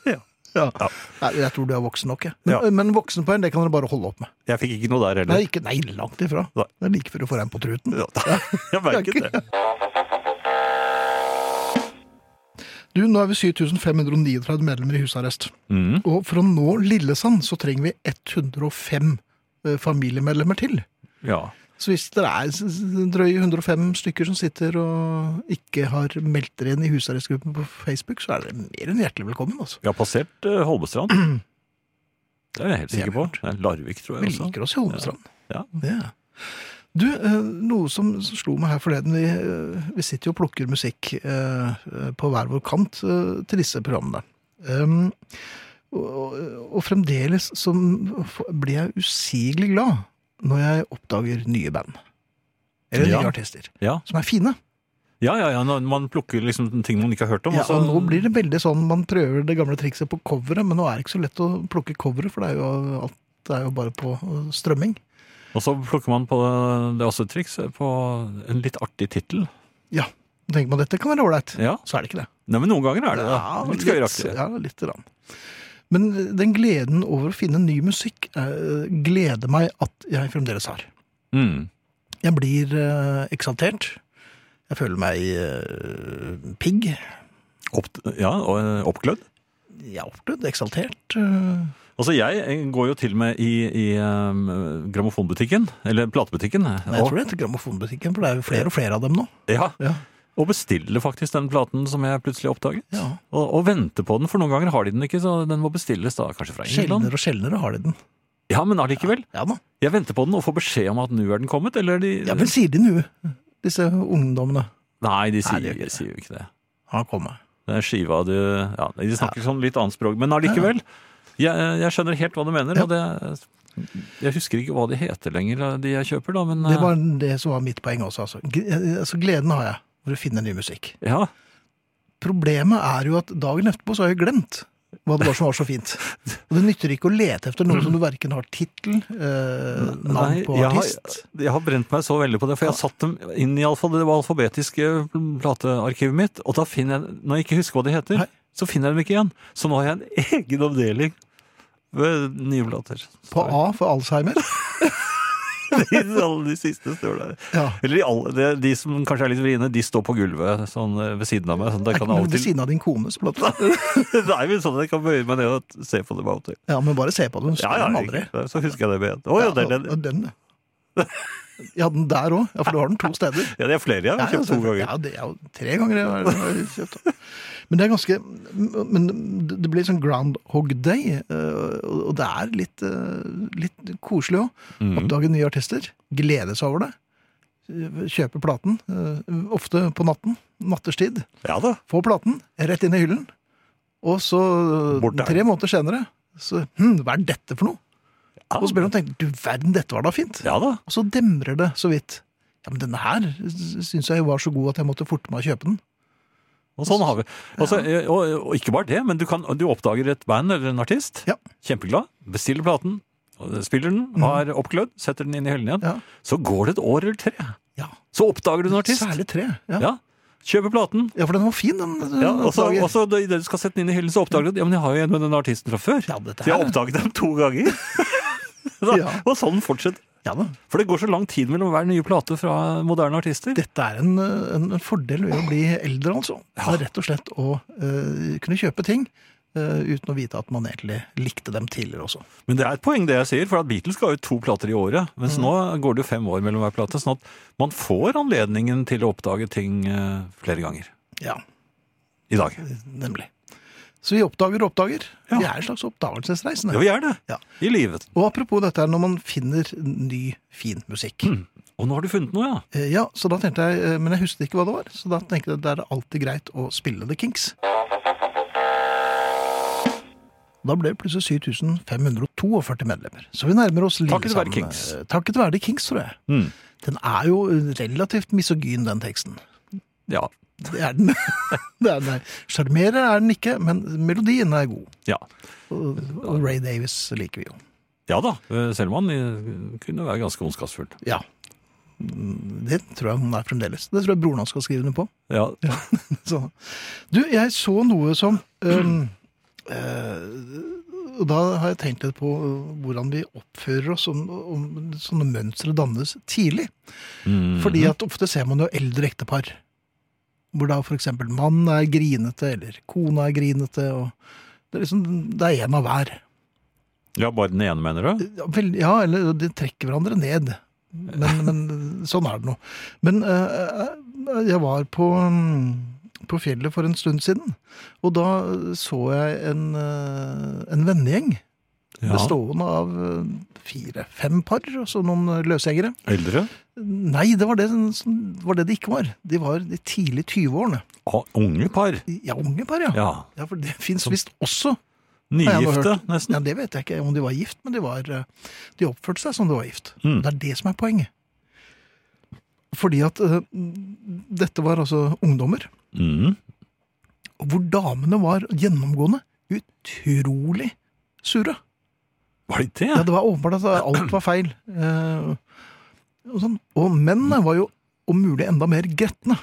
[SPEAKER 3] Ja.
[SPEAKER 2] Ja.
[SPEAKER 3] Ja.
[SPEAKER 2] Nei, jeg tror du er voksen nok, jeg. Men,
[SPEAKER 3] Ja.
[SPEAKER 2] men voksenpoeng, det kan dere bare holde opp med.
[SPEAKER 3] Jeg fikk ikke noe der
[SPEAKER 2] Det
[SPEAKER 3] heller.
[SPEAKER 2] er ikke, nei, langt ifra.
[SPEAKER 3] Nei.
[SPEAKER 2] Det er like før du får en på truten.
[SPEAKER 3] [laughs] Ja, Jeg merket det.
[SPEAKER 2] Du, nå er vi 7539 medlemmer i husarrest. Og for å nå Lillesand så trenger vi 105 eh, familiemedlemmer til.
[SPEAKER 3] Ja.
[SPEAKER 2] Så hvis det er s- s- drøye 105 stykker som sitter og ikke har meldt dere inn i husarrestgruppen på Facebook, så er dere mer enn hjertelig velkommen. altså.
[SPEAKER 3] Vi har passert eh, Holmestrand.
[SPEAKER 2] [clears throat]
[SPEAKER 3] Det er jeg helt
[SPEAKER 2] Det har
[SPEAKER 3] sikker på. Det er Larvik, tror
[SPEAKER 2] Vi
[SPEAKER 3] jeg også.
[SPEAKER 2] liker oss i Holmestrand.
[SPEAKER 3] Ja.
[SPEAKER 2] Det er. Du, eh, noe som som slo meg her forleden Vi, eh, vi sitter jo og plukker musikk eh, på hver vår kant eh, til disse programmene. Um, og, og- og fremdeles så blir jeg usigelig glad når jeg oppdager nye band. Eller nye
[SPEAKER 3] Ja.
[SPEAKER 2] artister.
[SPEAKER 3] Ja.
[SPEAKER 2] Som er fine.
[SPEAKER 3] ja, ja, ja. når Man plukker liksom ting man ikke har hørt om.
[SPEAKER 2] Ja,
[SPEAKER 3] og så-
[SPEAKER 2] og nå blir det veldig sånn man prøver det gamle trikset på coveret, men nå er det ikke så lett å plukke coveret, for det er jo, alt, det er jo bare på eh, strømming.
[SPEAKER 3] og så plukker man på Det er også et triks på en litt artig tittel.
[SPEAKER 2] Ja, da tenker man dette kan være ålreit.
[SPEAKER 3] Ja.
[SPEAKER 2] Så er det ikke det.
[SPEAKER 3] Nei, men noen ganger er det det. litt gøyaktig.
[SPEAKER 2] Ja, litt rann. Men den gleden over å finne ny musikk eh, gleder meg at jeg fremdeles har.
[SPEAKER 3] Mm.
[SPEAKER 2] Jeg blir eh, eksaltert. Jeg føler meg eh, pigg.
[SPEAKER 3] Opp, ja, og eh, oppglødd.
[SPEAKER 2] Jeg er oppglødd, eksaltert. eh,
[SPEAKER 3] Altså, jeg går jo til og med i, i eh, grammofonbutikken, eller platebutikken,
[SPEAKER 2] Nei, jeg
[SPEAKER 3] og,
[SPEAKER 2] tror det heter grammofonbutikken, for det er jo flere og flere av dem nå.
[SPEAKER 3] ja,
[SPEAKER 2] Ja.
[SPEAKER 3] og bestiller faktisk den platen som jeg plutselig oppdaget.
[SPEAKER 2] Ja.
[SPEAKER 3] Og, og venter på den, for noen ganger har de den ikke, så den må bestilles da kanskje fra England.
[SPEAKER 2] Sjeldnere og sjeldnere har de den.
[SPEAKER 3] Ja, men allikevel.
[SPEAKER 2] Ja da.
[SPEAKER 3] Jeg venter på den og får beskjed om at nå er den kommet, eller de
[SPEAKER 2] Ja, men sier de nå, disse ungdommene
[SPEAKER 3] Nei, de
[SPEAKER 2] Nei,
[SPEAKER 3] sier,
[SPEAKER 2] det gjør ikke
[SPEAKER 3] de sier jo ikke det.
[SPEAKER 2] har kommet.
[SPEAKER 3] Det er skiva du Ja, de snakker sånn litt annet språk, men allikevel. Jeg, jeg skjønner helt hva du mener. og det, jeg husker ikke hva de heter lenger, de jeg kjøper, da, men
[SPEAKER 2] Det var det som var mitt poeng også. Altså. G- altså gleden har jeg for å finne ny musikk.
[SPEAKER 3] eh, Ja,
[SPEAKER 2] Problemet er jo at dagen etterpå så har jeg glemt hva det var som var så fint. Og det nytter ikke å lete etter noe som du verken har tittel, eh, navn på
[SPEAKER 3] jeg har,
[SPEAKER 2] artist
[SPEAKER 3] jeg har brent meg så veldig på det, for jeg har satt dem inn i alfa- det alfabetiske platearkivet mitt, og da finner jeg, når jeg ikke husker hva de heter,
[SPEAKER 2] Nei.
[SPEAKER 3] så finner jeg dem ikke igjen. Så nå har jeg en [laughs] egen avdeling ved nye plater.
[SPEAKER 2] På A for Alzheimer.
[SPEAKER 3] [laughs] I alle de siste står der.
[SPEAKER 2] Ja.
[SPEAKER 3] Eller i alle, det, de som kanskje er litt vriene, de står på gulvet sånn eh, ved siden av meg. Sånn,
[SPEAKER 2] [laughs]
[SPEAKER 3] der kan jeg av og
[SPEAKER 2] Ved
[SPEAKER 3] til, [laughs]
[SPEAKER 2] siden av din kones plate.
[SPEAKER 3] nei, men sånn at jeg kan bøye meg ned og se på dem av og til.
[SPEAKER 2] Ja, men bare se på den.
[SPEAKER 3] Ja, ja,
[SPEAKER 2] den aldri.
[SPEAKER 3] ikke- så husker jeg det med en. Å ja, det er
[SPEAKER 2] Ja,
[SPEAKER 3] den.
[SPEAKER 2] den. Ja, den der òg. Ja, for du har den to steder.
[SPEAKER 3] Ja, det er flere jeg
[SPEAKER 2] Ja,
[SPEAKER 3] har kjøpt to
[SPEAKER 2] altså,
[SPEAKER 3] ganger.
[SPEAKER 2] Ja, det er jo tre ganger jeg har- har kjøpt. Men det er ganske Men det blir sånn Groundhog Day, eh, og det er litt, eh, litt koselig òg.
[SPEAKER 3] Mhm.
[SPEAKER 2] Oppdage nye artister, glede seg over det. Kjøpe platen, eh, ofte på natten. Natterstid.
[SPEAKER 3] Ja da.
[SPEAKER 2] Få platen, rett inn i hyllen. Og så,
[SPEAKER 3] Bort der.
[SPEAKER 2] tre måneder senere, så hm, Hva er dette for noe?
[SPEAKER 3] Ja,
[SPEAKER 2] Og så begynner man å tenke Du verden, dette var da fint.
[SPEAKER 3] ja da.
[SPEAKER 2] Og så demrer det så vidt. Ja, men denne her syns jeg jo var så god at jeg måtte forte meg å kjøpe den.
[SPEAKER 3] Og sånn har vi. Altså, eh, og, og ikke bare det, men du, kan, du oppdager et band eller en artist.
[SPEAKER 2] Ja. Mhm.
[SPEAKER 3] Kjempeglad. Bestiller platen. og Spiller den, har oppglødd, setter den inn i hyllen igjen.
[SPEAKER 2] Ja.
[SPEAKER 3] Så går det et år eller tre,
[SPEAKER 2] Ja,
[SPEAKER 3] så oppdager du en artist.
[SPEAKER 2] Særlig tre. Ja. Ja.
[SPEAKER 3] Ja. Kjøper platen.
[SPEAKER 2] for den var fin, den.
[SPEAKER 3] Ja, og så,
[SPEAKER 2] oppdager.
[SPEAKER 3] og så da- Idet du skal sette den inn i hyllen, så oppdager du at ja, men jeg har jo en med den artisten fra før.
[SPEAKER 2] Ja, dette
[SPEAKER 3] Så jeg
[SPEAKER 2] her-
[SPEAKER 3] har oppdaget dem to
[SPEAKER 2] [laughs]
[SPEAKER 3] ganger. [laughs] Da-
[SPEAKER 2] Ja.
[SPEAKER 3] Og sånn fortsetter.
[SPEAKER 2] ja da.
[SPEAKER 3] For det går så lang tid mellom hver nye plate fra moderne artister.
[SPEAKER 2] Dette er en, en en fordel ved å bli eldre, altså. Det er rett og slett å eh, kunne kjøpe ting eh, uten å vite at man egentlig likte dem tidligere også.
[SPEAKER 3] Men det er et poeng det jeg sier, for at Beatles ga ut to plater i året. Mens
[SPEAKER 2] Mm.
[SPEAKER 3] nå går det jo fem år mellom hver plate, sånn at man får anledningen til å oppdage ting eh, flere ganger
[SPEAKER 2] Ja,
[SPEAKER 3] i dag.
[SPEAKER 2] nemlig. Så vi oppdager og oppdager.
[SPEAKER 3] Ja.
[SPEAKER 2] Vi er en slags oppdagelsesreisende.
[SPEAKER 3] Ja, vi er det.
[SPEAKER 2] Ja.
[SPEAKER 3] I livet.
[SPEAKER 2] Og apropos dette her, når man finner ny, fin
[SPEAKER 3] Mm.
[SPEAKER 2] musikk.
[SPEAKER 3] Og nå har du funnet noe, ja.
[SPEAKER 2] Eh, Ja, så da tenkte jeg, eh, men jeg husket ikke hva det var, så da tenkte jeg at det er alltid greit å spille The Kinks. Da ble det plutselig 7542 medlemmer. Så vi nærmer oss
[SPEAKER 3] Takket
[SPEAKER 2] Lillesand-
[SPEAKER 3] være Mm. Kinks.
[SPEAKER 2] Eh, Takket være The Kinks, tror jeg. Den er jo eh, relativt misogyn, den teksten.
[SPEAKER 3] Ja.
[SPEAKER 2] Det er den. [laughs] det er den her. Sjarmerende er den ikke, men melodien er god.
[SPEAKER 3] Ja,
[SPEAKER 2] Og, og Ray Davis liker vi jo.
[SPEAKER 3] ja da. eh, Selv om han eh, kunne være ganske ondskapsfull.
[SPEAKER 2] Ja. Mm, Det tror jeg han er fremdeles. Det tror jeg broren hans skal skrive under på.
[SPEAKER 3] Ja.
[SPEAKER 2] Sånn. Du, jeg så noe som øhm, eh, Og da har jeg tenkt litt på øh, hvordan vi oppfører oss, om, om sånne mønstre dannes tidlig.
[SPEAKER 3] Mm.
[SPEAKER 2] Fordi at ofte ser man jo eldre ektepar. Hvor da f.eks. mannen er grinete, eller kona er grinete. og Det er liksom, det er én av hver.
[SPEAKER 3] ja, bare den ene, mener du?
[SPEAKER 2] Ja, vel, ja, eller de trekker hverandre ned. Men, men sånn er det nå. Men eh, jeg var på, mm, på fjellet for en stund siden, og da så jeg en, eh, en vennegjeng.
[SPEAKER 3] Ja.
[SPEAKER 2] Bestående av fire-fem par, og så noen eh, løsgjengere.
[SPEAKER 3] Eldre?
[SPEAKER 2] Nei, det var det, som, var det de ikke var. De var de tidlig 20-årene.
[SPEAKER 3] Ah, unge par?
[SPEAKER 2] Ja, unge par, ja.
[SPEAKER 3] Ja.
[SPEAKER 2] ja for det fins visst også Har jeg nå
[SPEAKER 3] Nygifte,
[SPEAKER 2] hørt. Ja,
[SPEAKER 3] nesten.
[SPEAKER 2] det vet jeg ikke om de var gift, men de, var, eh, de oppførte seg som de var gift.
[SPEAKER 3] Mm.
[SPEAKER 2] Det er det som er poenget. Fordi at eh, dette var altså ungdommer,
[SPEAKER 3] Mm.
[SPEAKER 2] og hvor damene var gjennomgående utrolig sure.
[SPEAKER 3] Var de det?
[SPEAKER 2] Ja, det var åpenbart at alt var feil. eh, og, sånn. og mennene var jo om mulig enda mer gretne.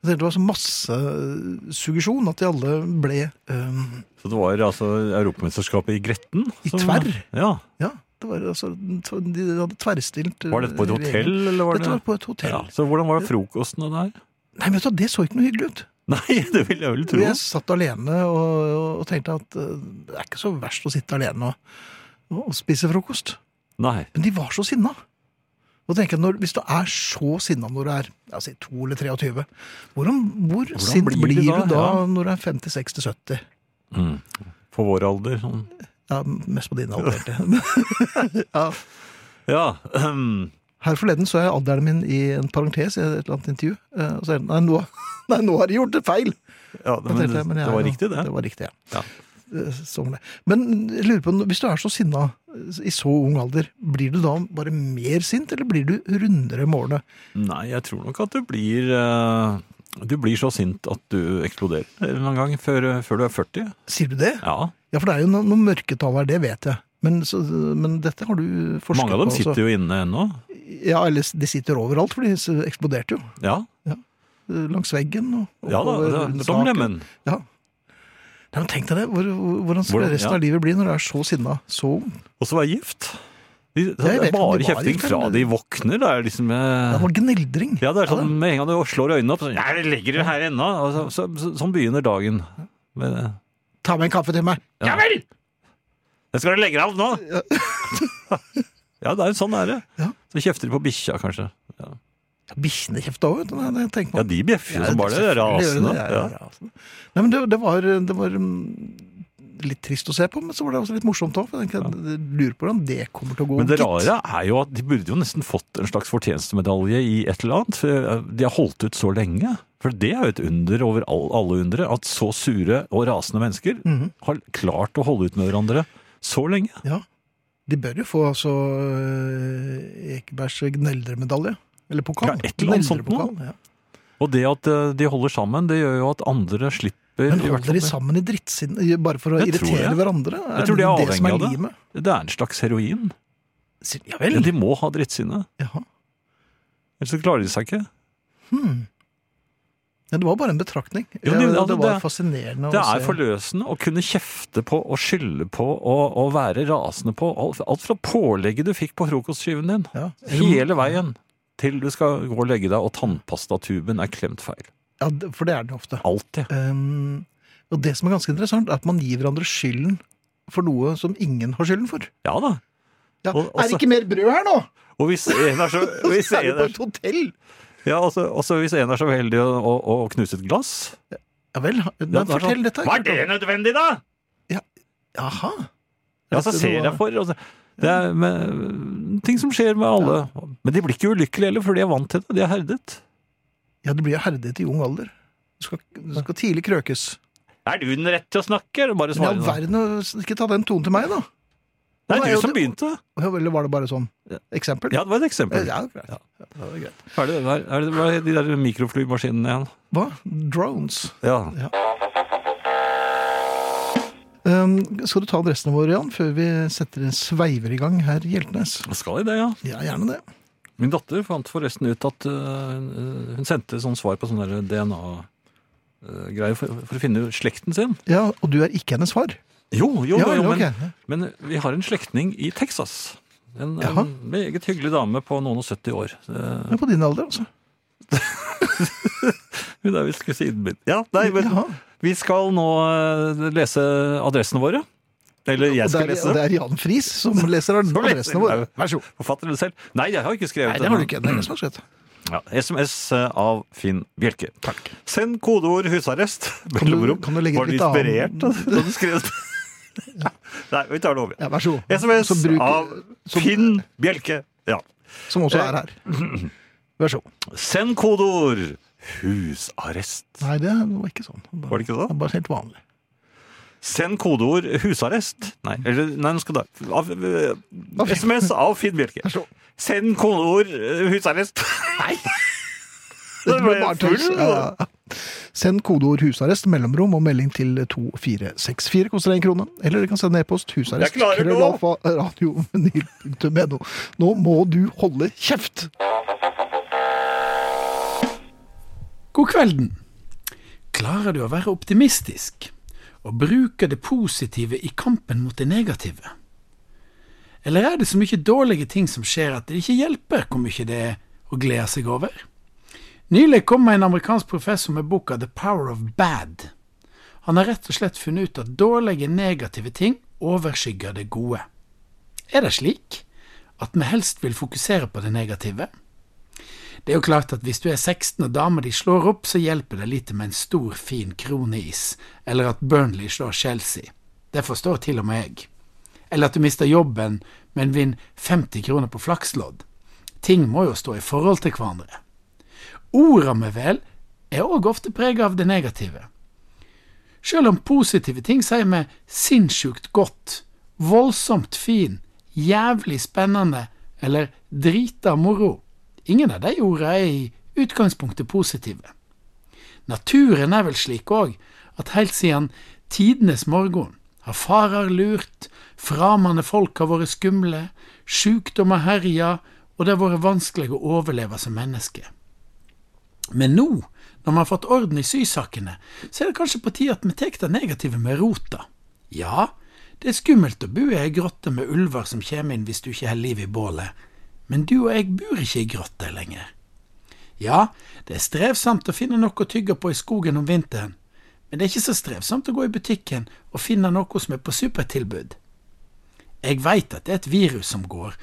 [SPEAKER 2] Jeg tenkte Det var så masse eh, suggesjon at de alle ble eh,
[SPEAKER 3] Så det var altså Europamesterskapet i Gretten?
[SPEAKER 2] I tverr?
[SPEAKER 3] Ja.
[SPEAKER 2] Ja, det var altså, de hadde tverrstilt eh,
[SPEAKER 3] Var dette på et hotell, eller var det
[SPEAKER 2] Dette var på et hotell.
[SPEAKER 3] Ja, så hvordan var det frokostene der? [laughs]
[SPEAKER 2] Nei, vet du, hva, Det så ikke noe hyggelig ut.
[SPEAKER 3] Nei, det vil jeg vel tro.
[SPEAKER 2] Jeg satt alene og, og tenkte at eh, det er ikke så verst å sitte alene og, og spise frokost.
[SPEAKER 3] Nei.
[SPEAKER 2] Men de var så sinna. Og tenker jeg, når, Hvis du er så sinna når du er ja, si, 2 eller 23, hvordan, hvor sint blir, du da,
[SPEAKER 3] Ja.
[SPEAKER 2] når du er 50, 60, 70?
[SPEAKER 3] Mm. På vår alder. Sånn.
[SPEAKER 2] Ja, Mest på din alder, egentlig.
[SPEAKER 3] [laughs]
[SPEAKER 2] [laughs] ja.
[SPEAKER 3] Ja. [clears throat] ehm,
[SPEAKER 2] Her forleden så jeg alderen min i en parentes i et eller annet intervju. eh, Og så er det, [laughs] nei, nå, nei, nå har de gjort det feil!
[SPEAKER 3] ja
[SPEAKER 2] Da
[SPEAKER 3] men,
[SPEAKER 2] tenkte jeg,
[SPEAKER 3] det,
[SPEAKER 2] men jeg
[SPEAKER 3] det var
[SPEAKER 2] er jo-
[SPEAKER 3] riktig, det.
[SPEAKER 2] Det var riktig, ja.
[SPEAKER 3] Ja.
[SPEAKER 2] eh, som det. Men jeg lurer på, hvis du er så sinna eh, i så ung alder, blir du da bare mer sint, eller blir du rundere med årene?
[SPEAKER 3] Nei, jeg tror nok at du blir eh, Du blir så sint at du eksploderer en eller annen gang før, før du er 40.
[SPEAKER 2] Sier du det?
[SPEAKER 3] Ja,
[SPEAKER 2] Ja, for det er jo no- noen mørketall her, det vet jeg. Men, så, men dette har du forsket
[SPEAKER 3] Mange av dem
[SPEAKER 2] på, altså.
[SPEAKER 3] sitter jo inne ennå.
[SPEAKER 2] Ja, eller s- de sitter overalt, for de s- eksploderte jo.
[SPEAKER 3] Ja,
[SPEAKER 2] eh, Langs veggen og
[SPEAKER 3] ja da,
[SPEAKER 2] oppover
[SPEAKER 3] det er som
[SPEAKER 2] taket.
[SPEAKER 3] lemen.
[SPEAKER 2] Ja. Nei, men tenk deg det. Hvor, hvor- hvordan skal
[SPEAKER 3] Hvordan-
[SPEAKER 2] resten
[SPEAKER 3] ja.
[SPEAKER 2] av livet bli når du er så sinna så ung?
[SPEAKER 3] Og så være gift. De, det
[SPEAKER 2] Jeg vet
[SPEAKER 3] er
[SPEAKER 2] ikke om de
[SPEAKER 3] bare
[SPEAKER 2] var
[SPEAKER 3] kjefting
[SPEAKER 2] gift,
[SPEAKER 3] fra
[SPEAKER 2] eller-
[SPEAKER 3] de våkner. Det er liksom eh,
[SPEAKER 2] Det var gneldring.
[SPEAKER 3] Ja, det er sånn med en gang du slår øynene opp sånn, «Nei, jeg legger det her ennå. Og så, så, så, sånn begynner dagen. Men, eh,
[SPEAKER 2] Ta med en kaffe til meg.
[SPEAKER 3] Ja.
[SPEAKER 2] vel!
[SPEAKER 3] Jeg skal legge deg av nå! ja, [laughs] det er sånn er det.
[SPEAKER 2] Ja.
[SPEAKER 3] Så kjefter de på bikkja, kanskje. Ja.
[SPEAKER 2] Bikkjene kjefta òg, vet du. det- Det tenker
[SPEAKER 3] ja,
[SPEAKER 2] man.
[SPEAKER 3] de bjeffer jo
[SPEAKER 2] Ja,
[SPEAKER 3] som bare det.
[SPEAKER 2] selvfølgelig gjør
[SPEAKER 3] Rasende.
[SPEAKER 2] det, det er
[SPEAKER 3] Ja.
[SPEAKER 2] rasende. Nei, men det, det var, det var mm, litt trist å se på, men så var det også litt morsomt òg. Jeg tenker, jeg lurer på hvordan det kommer til å gå.
[SPEAKER 3] Men det
[SPEAKER 2] gitt.
[SPEAKER 3] rare er jo at de burde jo nesten fått en slags fortjenestemedalje i et eller annet. for eh, De har holdt ut så lenge. For det er jo et under over all, alle undre, at så sure og rasende mennesker
[SPEAKER 2] Mhm.
[SPEAKER 3] har klart å holde ut med hverandre så lenge.
[SPEAKER 2] Ja. De bør jo få altså eh, Ekebergs gneldremedalje. Eller pokal.
[SPEAKER 3] Ja, et eller annet sånt
[SPEAKER 2] Gneldrepokal, Ja.
[SPEAKER 3] Og det at eh, de holder sammen, det gjør jo at andre slipper
[SPEAKER 2] Men
[SPEAKER 3] i hvert
[SPEAKER 2] holder de
[SPEAKER 3] fall-
[SPEAKER 2] sammen i drittsinn bare for å
[SPEAKER 3] Jeg tror
[SPEAKER 2] irritere
[SPEAKER 3] det.
[SPEAKER 2] hverandre?
[SPEAKER 3] Jeg tror de er
[SPEAKER 2] som
[SPEAKER 3] avhengig av det.
[SPEAKER 2] limet?
[SPEAKER 3] Det er en slags heroin.
[SPEAKER 2] Sier- Ja
[SPEAKER 3] Ja,
[SPEAKER 2] vel.
[SPEAKER 3] de må ha drittsinne.
[SPEAKER 2] Jaha.
[SPEAKER 3] Ellers så klarer de seg ikke.
[SPEAKER 2] Hmm. Ja, det var bare en betraktning.
[SPEAKER 3] Jo,
[SPEAKER 2] Ja,
[SPEAKER 3] det-
[SPEAKER 2] det,
[SPEAKER 3] altså,
[SPEAKER 2] var
[SPEAKER 3] det-
[SPEAKER 2] fascinerende
[SPEAKER 3] Det
[SPEAKER 2] å
[SPEAKER 3] er
[SPEAKER 2] se.
[SPEAKER 3] forløsende å kunne kjefte på og skylde på og, og være rasende på alt, alt fra pålegget du fikk på frokostskiven din,
[SPEAKER 2] Ja.
[SPEAKER 3] hele veien, til du skal gå og legge deg og tannpastatuben er klemt feil.
[SPEAKER 2] Ja, det- for det er det ofte.
[SPEAKER 3] Alltid.
[SPEAKER 2] Um, og det som er ganske interessant, er at man gir hverandre skylden for noe som ingen har skylden for.
[SPEAKER 3] Ja da.
[SPEAKER 2] Ja,
[SPEAKER 3] Og- og
[SPEAKER 2] er
[SPEAKER 3] så-
[SPEAKER 2] det ikke mer brød her nå?!
[SPEAKER 3] Og hvis en [laughs] er så, hvis
[SPEAKER 2] [laughs] Så er det
[SPEAKER 3] en
[SPEAKER 2] på
[SPEAKER 3] er,
[SPEAKER 2] et hotell!
[SPEAKER 3] ja, altså, altså hvis en er så heldig å, å, å knuse et glass
[SPEAKER 2] Ja vel, ha-
[SPEAKER 3] ja,
[SPEAKER 2] nei,
[SPEAKER 3] det er
[SPEAKER 2] fortell
[SPEAKER 3] sånn,
[SPEAKER 2] dette.
[SPEAKER 3] Var det nødvendig, da?
[SPEAKER 2] Jaha.
[SPEAKER 3] Ja, så
[SPEAKER 2] Dette
[SPEAKER 3] ser
[SPEAKER 2] var-
[SPEAKER 3] jeg for. Altså, det er med, ting som skjer med alle. Men de blir ikke ulykkelige heller, for de er vant til det. De er herdet.
[SPEAKER 2] Ja, du blir jo herdet i ung alder. Du skal, du skal tidlig krøkes.
[SPEAKER 3] Er du den rett til å snakke? Eller bare
[SPEAKER 2] Men i
[SPEAKER 3] svare
[SPEAKER 2] all
[SPEAKER 3] nå?
[SPEAKER 2] verden, ikke ta den tonen til meg, da!
[SPEAKER 3] Det
[SPEAKER 2] Nå er
[SPEAKER 3] er
[SPEAKER 2] jo
[SPEAKER 3] du som
[SPEAKER 2] det-
[SPEAKER 3] begynte.
[SPEAKER 2] Eller var det bare sånn?
[SPEAKER 3] Ja.
[SPEAKER 2] Eksempel?
[SPEAKER 3] Ja, det var et eksempel.
[SPEAKER 2] Ja, greit. Ja, det var greit.
[SPEAKER 3] Hva er det, hva er- er det, hva er de der mikroflymaskinene igjen?
[SPEAKER 2] Hva? Drones.
[SPEAKER 3] Ja.
[SPEAKER 2] Um, skal du ta adressene våre, Jan, før vi setter sveiver i gang her i Hjeltnes?
[SPEAKER 3] Skal de det, ja?
[SPEAKER 2] Ja, gjerne det.
[SPEAKER 3] Min datter fant forresten ut at øh, hun sendte sånn svar på sånn DNA-greier eh, for, for å finne slekten sin.
[SPEAKER 2] Ja, Og du er ikke hennes far?
[SPEAKER 3] Jo, jo,
[SPEAKER 2] Ja, vel,
[SPEAKER 3] jo, men,
[SPEAKER 2] ok.
[SPEAKER 3] men eh, vi har en slektning i Texas. En,
[SPEAKER 2] Jaha.
[SPEAKER 3] en meget hyggelig dame på noen og 70 år. Eh,
[SPEAKER 2] Ja, på din alder, altså.
[SPEAKER 3] Hun er visst kusinen min. Ja, nei, men
[SPEAKER 2] Jaha.
[SPEAKER 3] Vi skal nå eh, lese adressene våre. Eller jeg
[SPEAKER 2] Og det
[SPEAKER 3] skal
[SPEAKER 2] er,
[SPEAKER 3] lese
[SPEAKER 2] og det
[SPEAKER 3] dem.
[SPEAKER 2] er Jan Friis
[SPEAKER 3] [laughs]
[SPEAKER 2] som leser
[SPEAKER 3] Som leser,
[SPEAKER 2] adressene våre.
[SPEAKER 3] ja.
[SPEAKER 2] Vær så god.
[SPEAKER 3] Forfatter du selv? Nei, jeg har ikke skrevet
[SPEAKER 2] Nei, det har du ikke. Det er ingen som har skrevet.
[SPEAKER 3] Ja, SMS av Finn Bjelke.
[SPEAKER 2] Takk.
[SPEAKER 3] Send kodeord 'husarrest'.
[SPEAKER 2] Kan du-
[SPEAKER 3] mellomrom.
[SPEAKER 2] kan du legge
[SPEAKER 3] Var du
[SPEAKER 2] litt annen-
[SPEAKER 3] inspirert da da du skrev det?
[SPEAKER 2] [laughs]
[SPEAKER 3] Nei, vi tar det over.
[SPEAKER 2] Ja, vær så god.
[SPEAKER 3] SMS
[SPEAKER 2] Så bruk-
[SPEAKER 3] av
[SPEAKER 2] så-
[SPEAKER 3] Finn Bjelke. Ja.
[SPEAKER 2] Som også
[SPEAKER 3] [clears throat]
[SPEAKER 2] er her. Vær så god.
[SPEAKER 3] Send kodeord 'husarrest'.
[SPEAKER 2] Nei, det var ikke sånn. Bare,
[SPEAKER 3] Var det ikke sånn?
[SPEAKER 2] er bare helt vanlig.
[SPEAKER 3] Send kodeord 'husarrest'. Nei, eller, nei, nå skal du av, eh, SMS av Finn Bjelke.
[SPEAKER 2] Vær så god.
[SPEAKER 3] Send kodeord eh, 'husarrest'. Nei!
[SPEAKER 2] Det
[SPEAKER 3] [laughs] Det
[SPEAKER 2] ble
[SPEAKER 3] ble
[SPEAKER 2] bare tøys.
[SPEAKER 3] full,
[SPEAKER 2] Ja, ja. Send kodeord 'husarrest', mellomrom og melding til 2464, koster en krone. Eller dere kan sende e-post husarrest.
[SPEAKER 3] Jeg klarer nå!
[SPEAKER 2] krøllalfa, radiovinyl.no. Nå må du holde kjeft!
[SPEAKER 4] God kvelden. Klarer du å være optimistisk og bruke det positive i kampen mot det negative? Eller er det så mye dårlige ting som skjer at det ikke hjelper hvor mye det er å glede seg over? Nylig kom en amerikansk professor med boka The Power of Bad. Han har rett og slett funnet ut at dårlige, negative ting overskygger det gode. Er det slik at vi helst vil fokusere på det negative? Det er jo klart at hvis du er 16 og dama di slår opp, så hjelper det lite med en stor, fin kroneis, eller at Burnley slår Chelsea. Det forstår til og med jeg. Eller at du mister jobben, men vinner 50 kroner på flakslodd. Ting må jo stå i forhold til hverandre. Orda vi vel er òg ofte prega av det negative. Sjøl om positive ting sier vi sinnssykt godt, voldsomt fin, jævlig spennende eller drita moro. Ingen av de ordene er i utgangspunktet positive. Naturen er vel slik òg, at heilt siden tidenes morgen har farer lurt, framande folk har vært skumle, sjukdom har herja, og det har vært vanskelig å overleve som menneske. Men nå, når man har fått orden i sysakene, så er det kanskje på tide at vi tar det negative med rota. Ja, det er skummelt å bo i ei grotte med ulver som kommer inn hvis du ikke holder liv i bålet, men du og jeg bor ikke i grotte lenger. Ja, det er strevsomt å finne noe å tygge på i skogen om vinteren, men det er ikke så strevsomt å gå i butikken og finne noe som er på supertilbud. Jeg veit at det er et virus som går,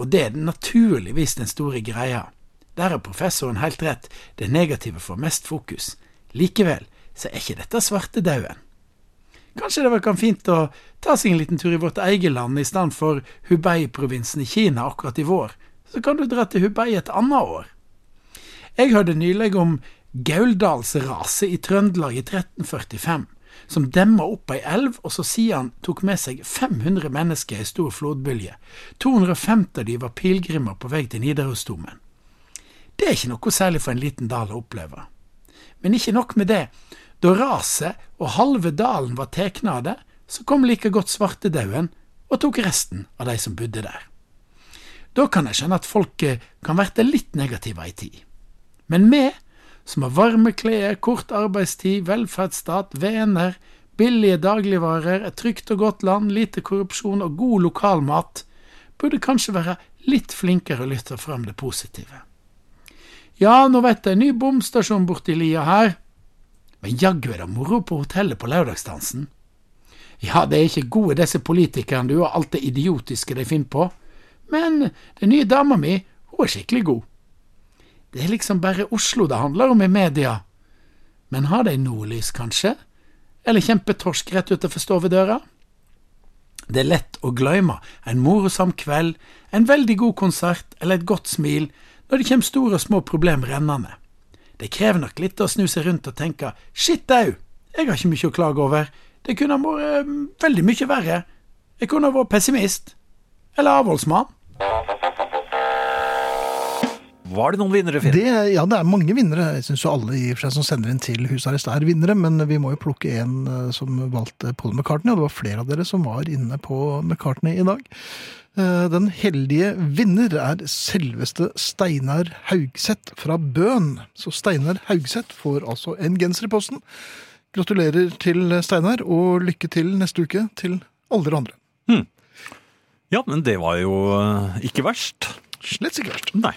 [SPEAKER 4] og det er naturligvis den store greia. Der har professoren helt rett, det negative får mest fokus. Likevel så er ikke dette svartedauden. Kanskje det vel kan fint å ta seg en liten tur i vårt eget land i stedet for Hubei-provinsen i Kina akkurat i vår. Så kan du dra til Hubei et annet år. Jeg hørte nylig om Gauldalsraset i Trøndelag i 1345, som demma opp ei elv, og så siden tok med seg 500 mennesker i ei stor flodbølge. 250 av de var pilegrimer på vei til Nidarosdomen. Det er ikke noe særlig for en liten dal å oppleve. Men ikke nok med det. Da raset og halve dalen var tatt av det, så kom like godt svartedauden og tok resten av de som bodde der. Da kan jeg skjønne at folket kan verte litt negative ei tid. Men vi, som har varme klær, kort arbeidstid, velferdsstat, venner, billige dagligvarer, et trygt og godt land, lite korrupsjon og god lokalmat, burde kanskje være litt flinkere å lytte fram det positive. Ja, nå vet jeg en ny bomstasjon borti lia her. Men jaggu er det moro på hotellet på lørdagsdansen. Ja, det er ikke gode disse politikerne du og alt det idiotiske de finner på, men den nye dama mi, hun er skikkelig god. Det er liksom bare Oslo det handler om i media. Men har de nordlys, kanskje? Eller kjempetorsk rett utenfor stovedøra? Det er lett å glemme en morosam kveld, en veldig god konsert eller et godt smil når det kommer store og små problemer rennende. Det krever nok litt å snu seg rundt og tenke shit au, jeg har ikke mye å klage over, det kunne ha vært eh, veldig mye verre, jeg kunne ha vært pessimist, eller avholdsmann.
[SPEAKER 3] Var det noen vinnere, Finn?
[SPEAKER 2] Det, ja, det er mange vinnere. Jeg syns jo alle i og for seg som sender inn til husarrest er vinnere, men vi må jo plukke en eh, som valgte Paul McCartney, og det var flere av dere som var inne på McCartney i dag. Eh, Den heldige vinner er selveste Steinar Haugseth fra Bøn. Så Steinar Haugseth får altså en genser i posten. Gratulerer til Steinar, og lykke til neste uke til alle dere andre.
[SPEAKER 3] Ja, men det var jo eh, ikke verst.
[SPEAKER 2] Slett ikke verst.
[SPEAKER 3] Nei.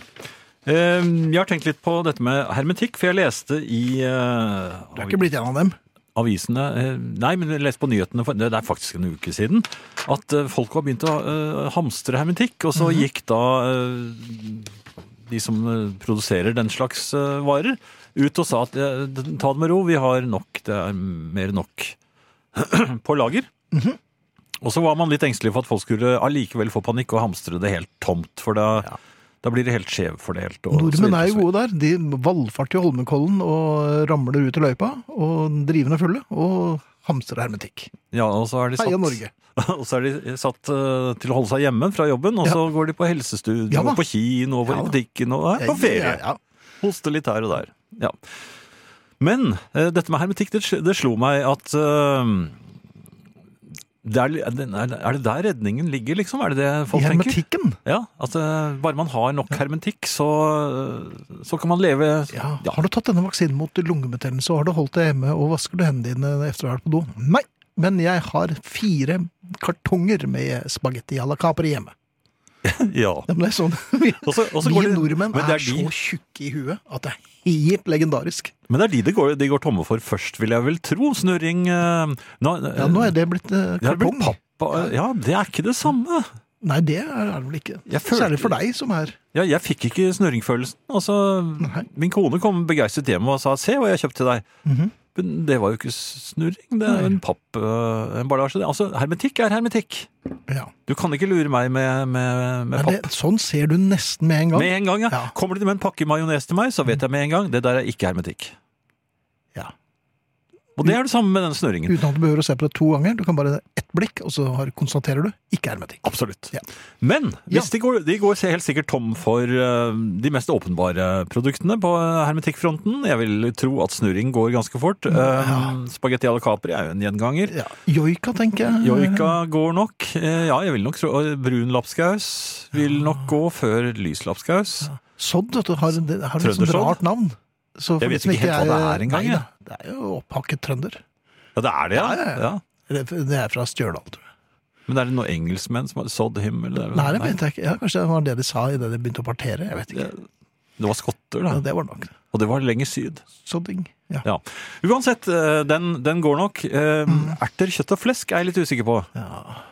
[SPEAKER 3] Eh, Jeg har tenkt litt på dette med hermetikk, for jeg leste i eh,
[SPEAKER 2] Du er ikke blitt en av dem.
[SPEAKER 3] avisene eh, Nei, men jeg leste på nyhetene, for det det er faktisk en uke siden, at eh, folk har begynt å eh, hamstre hermetikk, og
[SPEAKER 2] Mhm.
[SPEAKER 3] så gikk da eh, de som eh, produserer den slags eh, varer, ut og sa at eh, ta det med ro, vi har nok, det er mer enn nok [clears throat] på lager.
[SPEAKER 2] Mhm.
[SPEAKER 3] Og så var man litt engstelig for at folk skulle allikevel få panikk og hamstre det helt tomt, for da, da blir det helt skjevfordelt. og så
[SPEAKER 2] Nordmenn
[SPEAKER 3] videre,
[SPEAKER 2] er jo
[SPEAKER 3] så videre.
[SPEAKER 2] gode der. De valfarter jo Holmenkollen og ramler ut i løypa. Og drivende fulle. Og hamstrer hermetikk.
[SPEAKER 3] Ja, og så er de satt,
[SPEAKER 2] Heia Norge.
[SPEAKER 3] [laughs] Og så er de satt eh, til å holde seg hjemme fra jobben, og
[SPEAKER 2] Ja.
[SPEAKER 3] så går de på helsestudio,
[SPEAKER 2] Ja da.
[SPEAKER 3] og på kino, og
[SPEAKER 2] Ja
[SPEAKER 3] i
[SPEAKER 2] da.
[SPEAKER 3] butikken, og er på ferie.
[SPEAKER 2] Ja, ja.
[SPEAKER 3] Hoste litt her og der. Ja. Men eh, dette med hermetikk, det, sl- det slo meg at eh, det er, li- er det- er det der redningen ligger, liksom? Er det det
[SPEAKER 2] I
[SPEAKER 3] folk tenker?
[SPEAKER 2] hermetikken.
[SPEAKER 3] Ja, at eh, bare man har nok hermetikk, så, så kan man leve
[SPEAKER 2] Ja. Har du tatt denne vaksinen mot lungebetennelse, og har du holdt deg hjemme og vasker du hendene dine etter å ha vært på do? Nei. Men jeg har fire kartonger med spagetti à la Capri hjemme.
[SPEAKER 3] [laughs] Ja.
[SPEAKER 2] Ja, men det er sånn. Vi,
[SPEAKER 3] Og så- og så går
[SPEAKER 2] vi
[SPEAKER 3] det-
[SPEAKER 2] nordmenn
[SPEAKER 3] men
[SPEAKER 2] er,
[SPEAKER 3] det er de-
[SPEAKER 2] så tjukke i huet at det er helt legendarisk.
[SPEAKER 3] Men det er de det går, de går tomme for først, vil jeg vel tro. Snurring eh, nå, eh,
[SPEAKER 2] Ja, nå er det blitt eh,
[SPEAKER 3] det er vel
[SPEAKER 2] kartong.
[SPEAKER 3] pappa- Ja, det er ikke det samme.
[SPEAKER 2] Nei, det er det vel ikke.
[SPEAKER 3] Jeg følte-
[SPEAKER 2] Særlig for deg som er
[SPEAKER 3] Ja, jeg fikk ikke snurringfølelsen. Altså,
[SPEAKER 2] Nei.
[SPEAKER 3] min kone kom begeistret hjem og sa 'se hva jeg kjøpte til deg'.
[SPEAKER 2] Mhm.
[SPEAKER 3] Men det var jo ikke snurring, det er jo en pappemballasje. Altså, hermetikk er hermetikk.
[SPEAKER 2] Ja.
[SPEAKER 3] Du kan ikke lure meg med, med, med
[SPEAKER 2] Men
[SPEAKER 3] papp.
[SPEAKER 2] det, sånn ser du nesten med en gang.
[SPEAKER 3] Med en gang, ja.
[SPEAKER 2] Ja. Mm.
[SPEAKER 3] Kommer de med en pakke majones til meg, så vet jeg med en gang det der er ikke hermetikk.
[SPEAKER 2] Ja.
[SPEAKER 3] Og det er det samme med den snøringen.
[SPEAKER 2] Uten at du behøver å se på det to ganger. Du kan bare ett blikk, og så har, konstaterer du ikke hermetikk.
[SPEAKER 3] Absolutt.
[SPEAKER 2] Ja.
[SPEAKER 3] Men hvis
[SPEAKER 2] Ja.
[SPEAKER 3] de, går, de går helt sikkert tom for eh, de mest åpenbare produktene på eh, hermetikkfronten. Jeg vil tro at snurring går ganske fort. Eh, Spagetti à la Capri er jo en gjenganger.
[SPEAKER 2] Ja, Joika, tenker jeg.
[SPEAKER 3] Joika går nok. Eh, Ja, jeg vil nok tro og Brun lapskaus vil nok gå før lys lapskaus.
[SPEAKER 2] Sodd, vet du, har, det har et sånt
[SPEAKER 3] Trøndersodd?
[SPEAKER 2] rart navn. Så for
[SPEAKER 3] Jeg
[SPEAKER 2] de
[SPEAKER 3] vet
[SPEAKER 2] som
[SPEAKER 3] ikke helt hva det er engang,
[SPEAKER 2] Nei
[SPEAKER 3] jeg.
[SPEAKER 2] da, Det er jo opphakket trønder.
[SPEAKER 3] Ja, det er det, ja.
[SPEAKER 2] Ja, ja, ja.
[SPEAKER 3] ja.
[SPEAKER 2] Eller, Det er fra Stjørdal, tror jeg.
[SPEAKER 3] Men er det noen engelskmenn som har sådd himmel? eller-
[SPEAKER 2] Nei, det vet jeg ikke. Ja, kanskje det var det de sa idet de begynte å partere. Jeg vet ikke.
[SPEAKER 3] Det var skotter,
[SPEAKER 2] Ja,
[SPEAKER 3] da.
[SPEAKER 2] det var nok.
[SPEAKER 3] Og det var lenger syd.
[SPEAKER 2] Sodding. Ja.
[SPEAKER 3] Ja. Uansett, eh, den, den går nok. Eh, Erter, kjøtt og flesk er jeg litt usikker på.
[SPEAKER 2] Ja.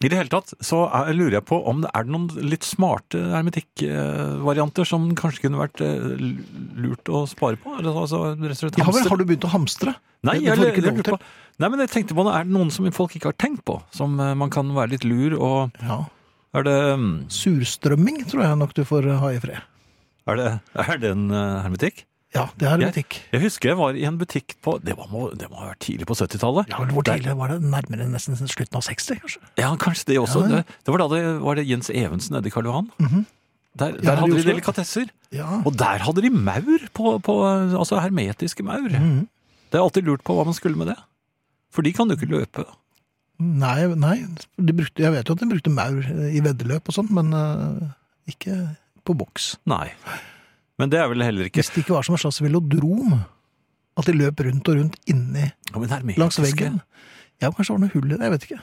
[SPEAKER 3] I det hele tatt så er, lurer jeg på om det er noen litt smarte hermetikkvarianter som kanskje kunne vært eh, lurt å spare på? Eller, altså, rett og slett
[SPEAKER 2] Ja, vel,
[SPEAKER 3] hamstre.
[SPEAKER 2] har du begynt å hamstre?
[SPEAKER 3] Nei,
[SPEAKER 2] Det- det
[SPEAKER 3] jeg,
[SPEAKER 2] får du ikke
[SPEAKER 3] jeg,
[SPEAKER 2] lov
[SPEAKER 3] lurer
[SPEAKER 2] til.
[SPEAKER 3] på, nei, men jeg tenkte på det. Er det noen som folk ikke har tenkt på, som eh, man kan være litt lur og
[SPEAKER 2] Ja.
[SPEAKER 3] Er det, mm,
[SPEAKER 2] Surstrømming tror jeg nok du får eh, ha i fred.
[SPEAKER 3] er det, er det en eh, hermetikk?
[SPEAKER 2] Ja, det er
[SPEAKER 3] Jeg-
[SPEAKER 2] hermetikk.
[SPEAKER 3] Jeg husker jeg var i en butikk på Det, var, må- det må ha vært tidlig på 70-tallet.
[SPEAKER 2] Ja, vel, Hvor tidlig var det? Nærmere nesten slutten av 60, kanskje?
[SPEAKER 3] Ja, kanskje det også.
[SPEAKER 2] Ja, ja.
[SPEAKER 3] Det, det var da det var det Jens Evensen nede i Karl Johan. Der, der
[SPEAKER 2] Ja, i
[SPEAKER 3] hadde de
[SPEAKER 2] Oslo.
[SPEAKER 3] delikatesser.
[SPEAKER 2] Ja.
[SPEAKER 3] Og der hadde de maur, på, på, eh, altså hermetiske maur.
[SPEAKER 2] Mhm.
[SPEAKER 3] Det har jeg alltid lurt på hva man skulle med det. For de kan du ikke løpe.
[SPEAKER 2] Nei, nei. De brukte, jeg vet jo at de brukte maur eh, i veddeløp og sånn, men eh, ikke på boks.
[SPEAKER 3] Nei. Men det er vel heller ikke
[SPEAKER 2] Hvis det ikke var som en slags velodrom, at de løp rundt og rundt inni
[SPEAKER 3] Ja, men hermetiske-
[SPEAKER 2] langs veggen. Ja, kanskje det var noe hull i det, jeg vet ikke.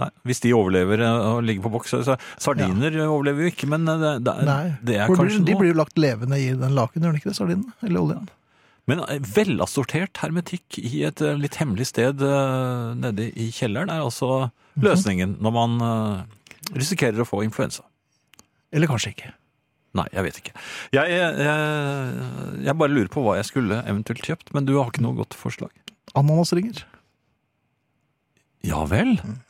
[SPEAKER 3] Nei, hvis de overlever eh, og ligger på boks så- så- Sardiner overlever jo ikke, men eh, det, det,
[SPEAKER 2] Nei.
[SPEAKER 3] er- det er
[SPEAKER 2] For
[SPEAKER 3] kanskje
[SPEAKER 2] de, de
[SPEAKER 3] noe.
[SPEAKER 2] blir jo lagt levende i den laken, gjør de ikke det? Sardinen? Eller oljen?
[SPEAKER 3] Men eh, velassortert hermetikk i et eh, litt hemmelig sted eh, nede i kjelleren er altså
[SPEAKER 2] Mhm.
[SPEAKER 3] løsningen når man eh, risikerer å få influensa.
[SPEAKER 2] Eller kanskje ikke.
[SPEAKER 3] Nei, jeg vet ikke. Jeg, eh, jeg, jeg bare lurer på hva jeg skulle eventuelt kjøpt, men du har ikke noe godt forslag?
[SPEAKER 2] Ananasringer.
[SPEAKER 3] Ja vel?
[SPEAKER 2] Mm.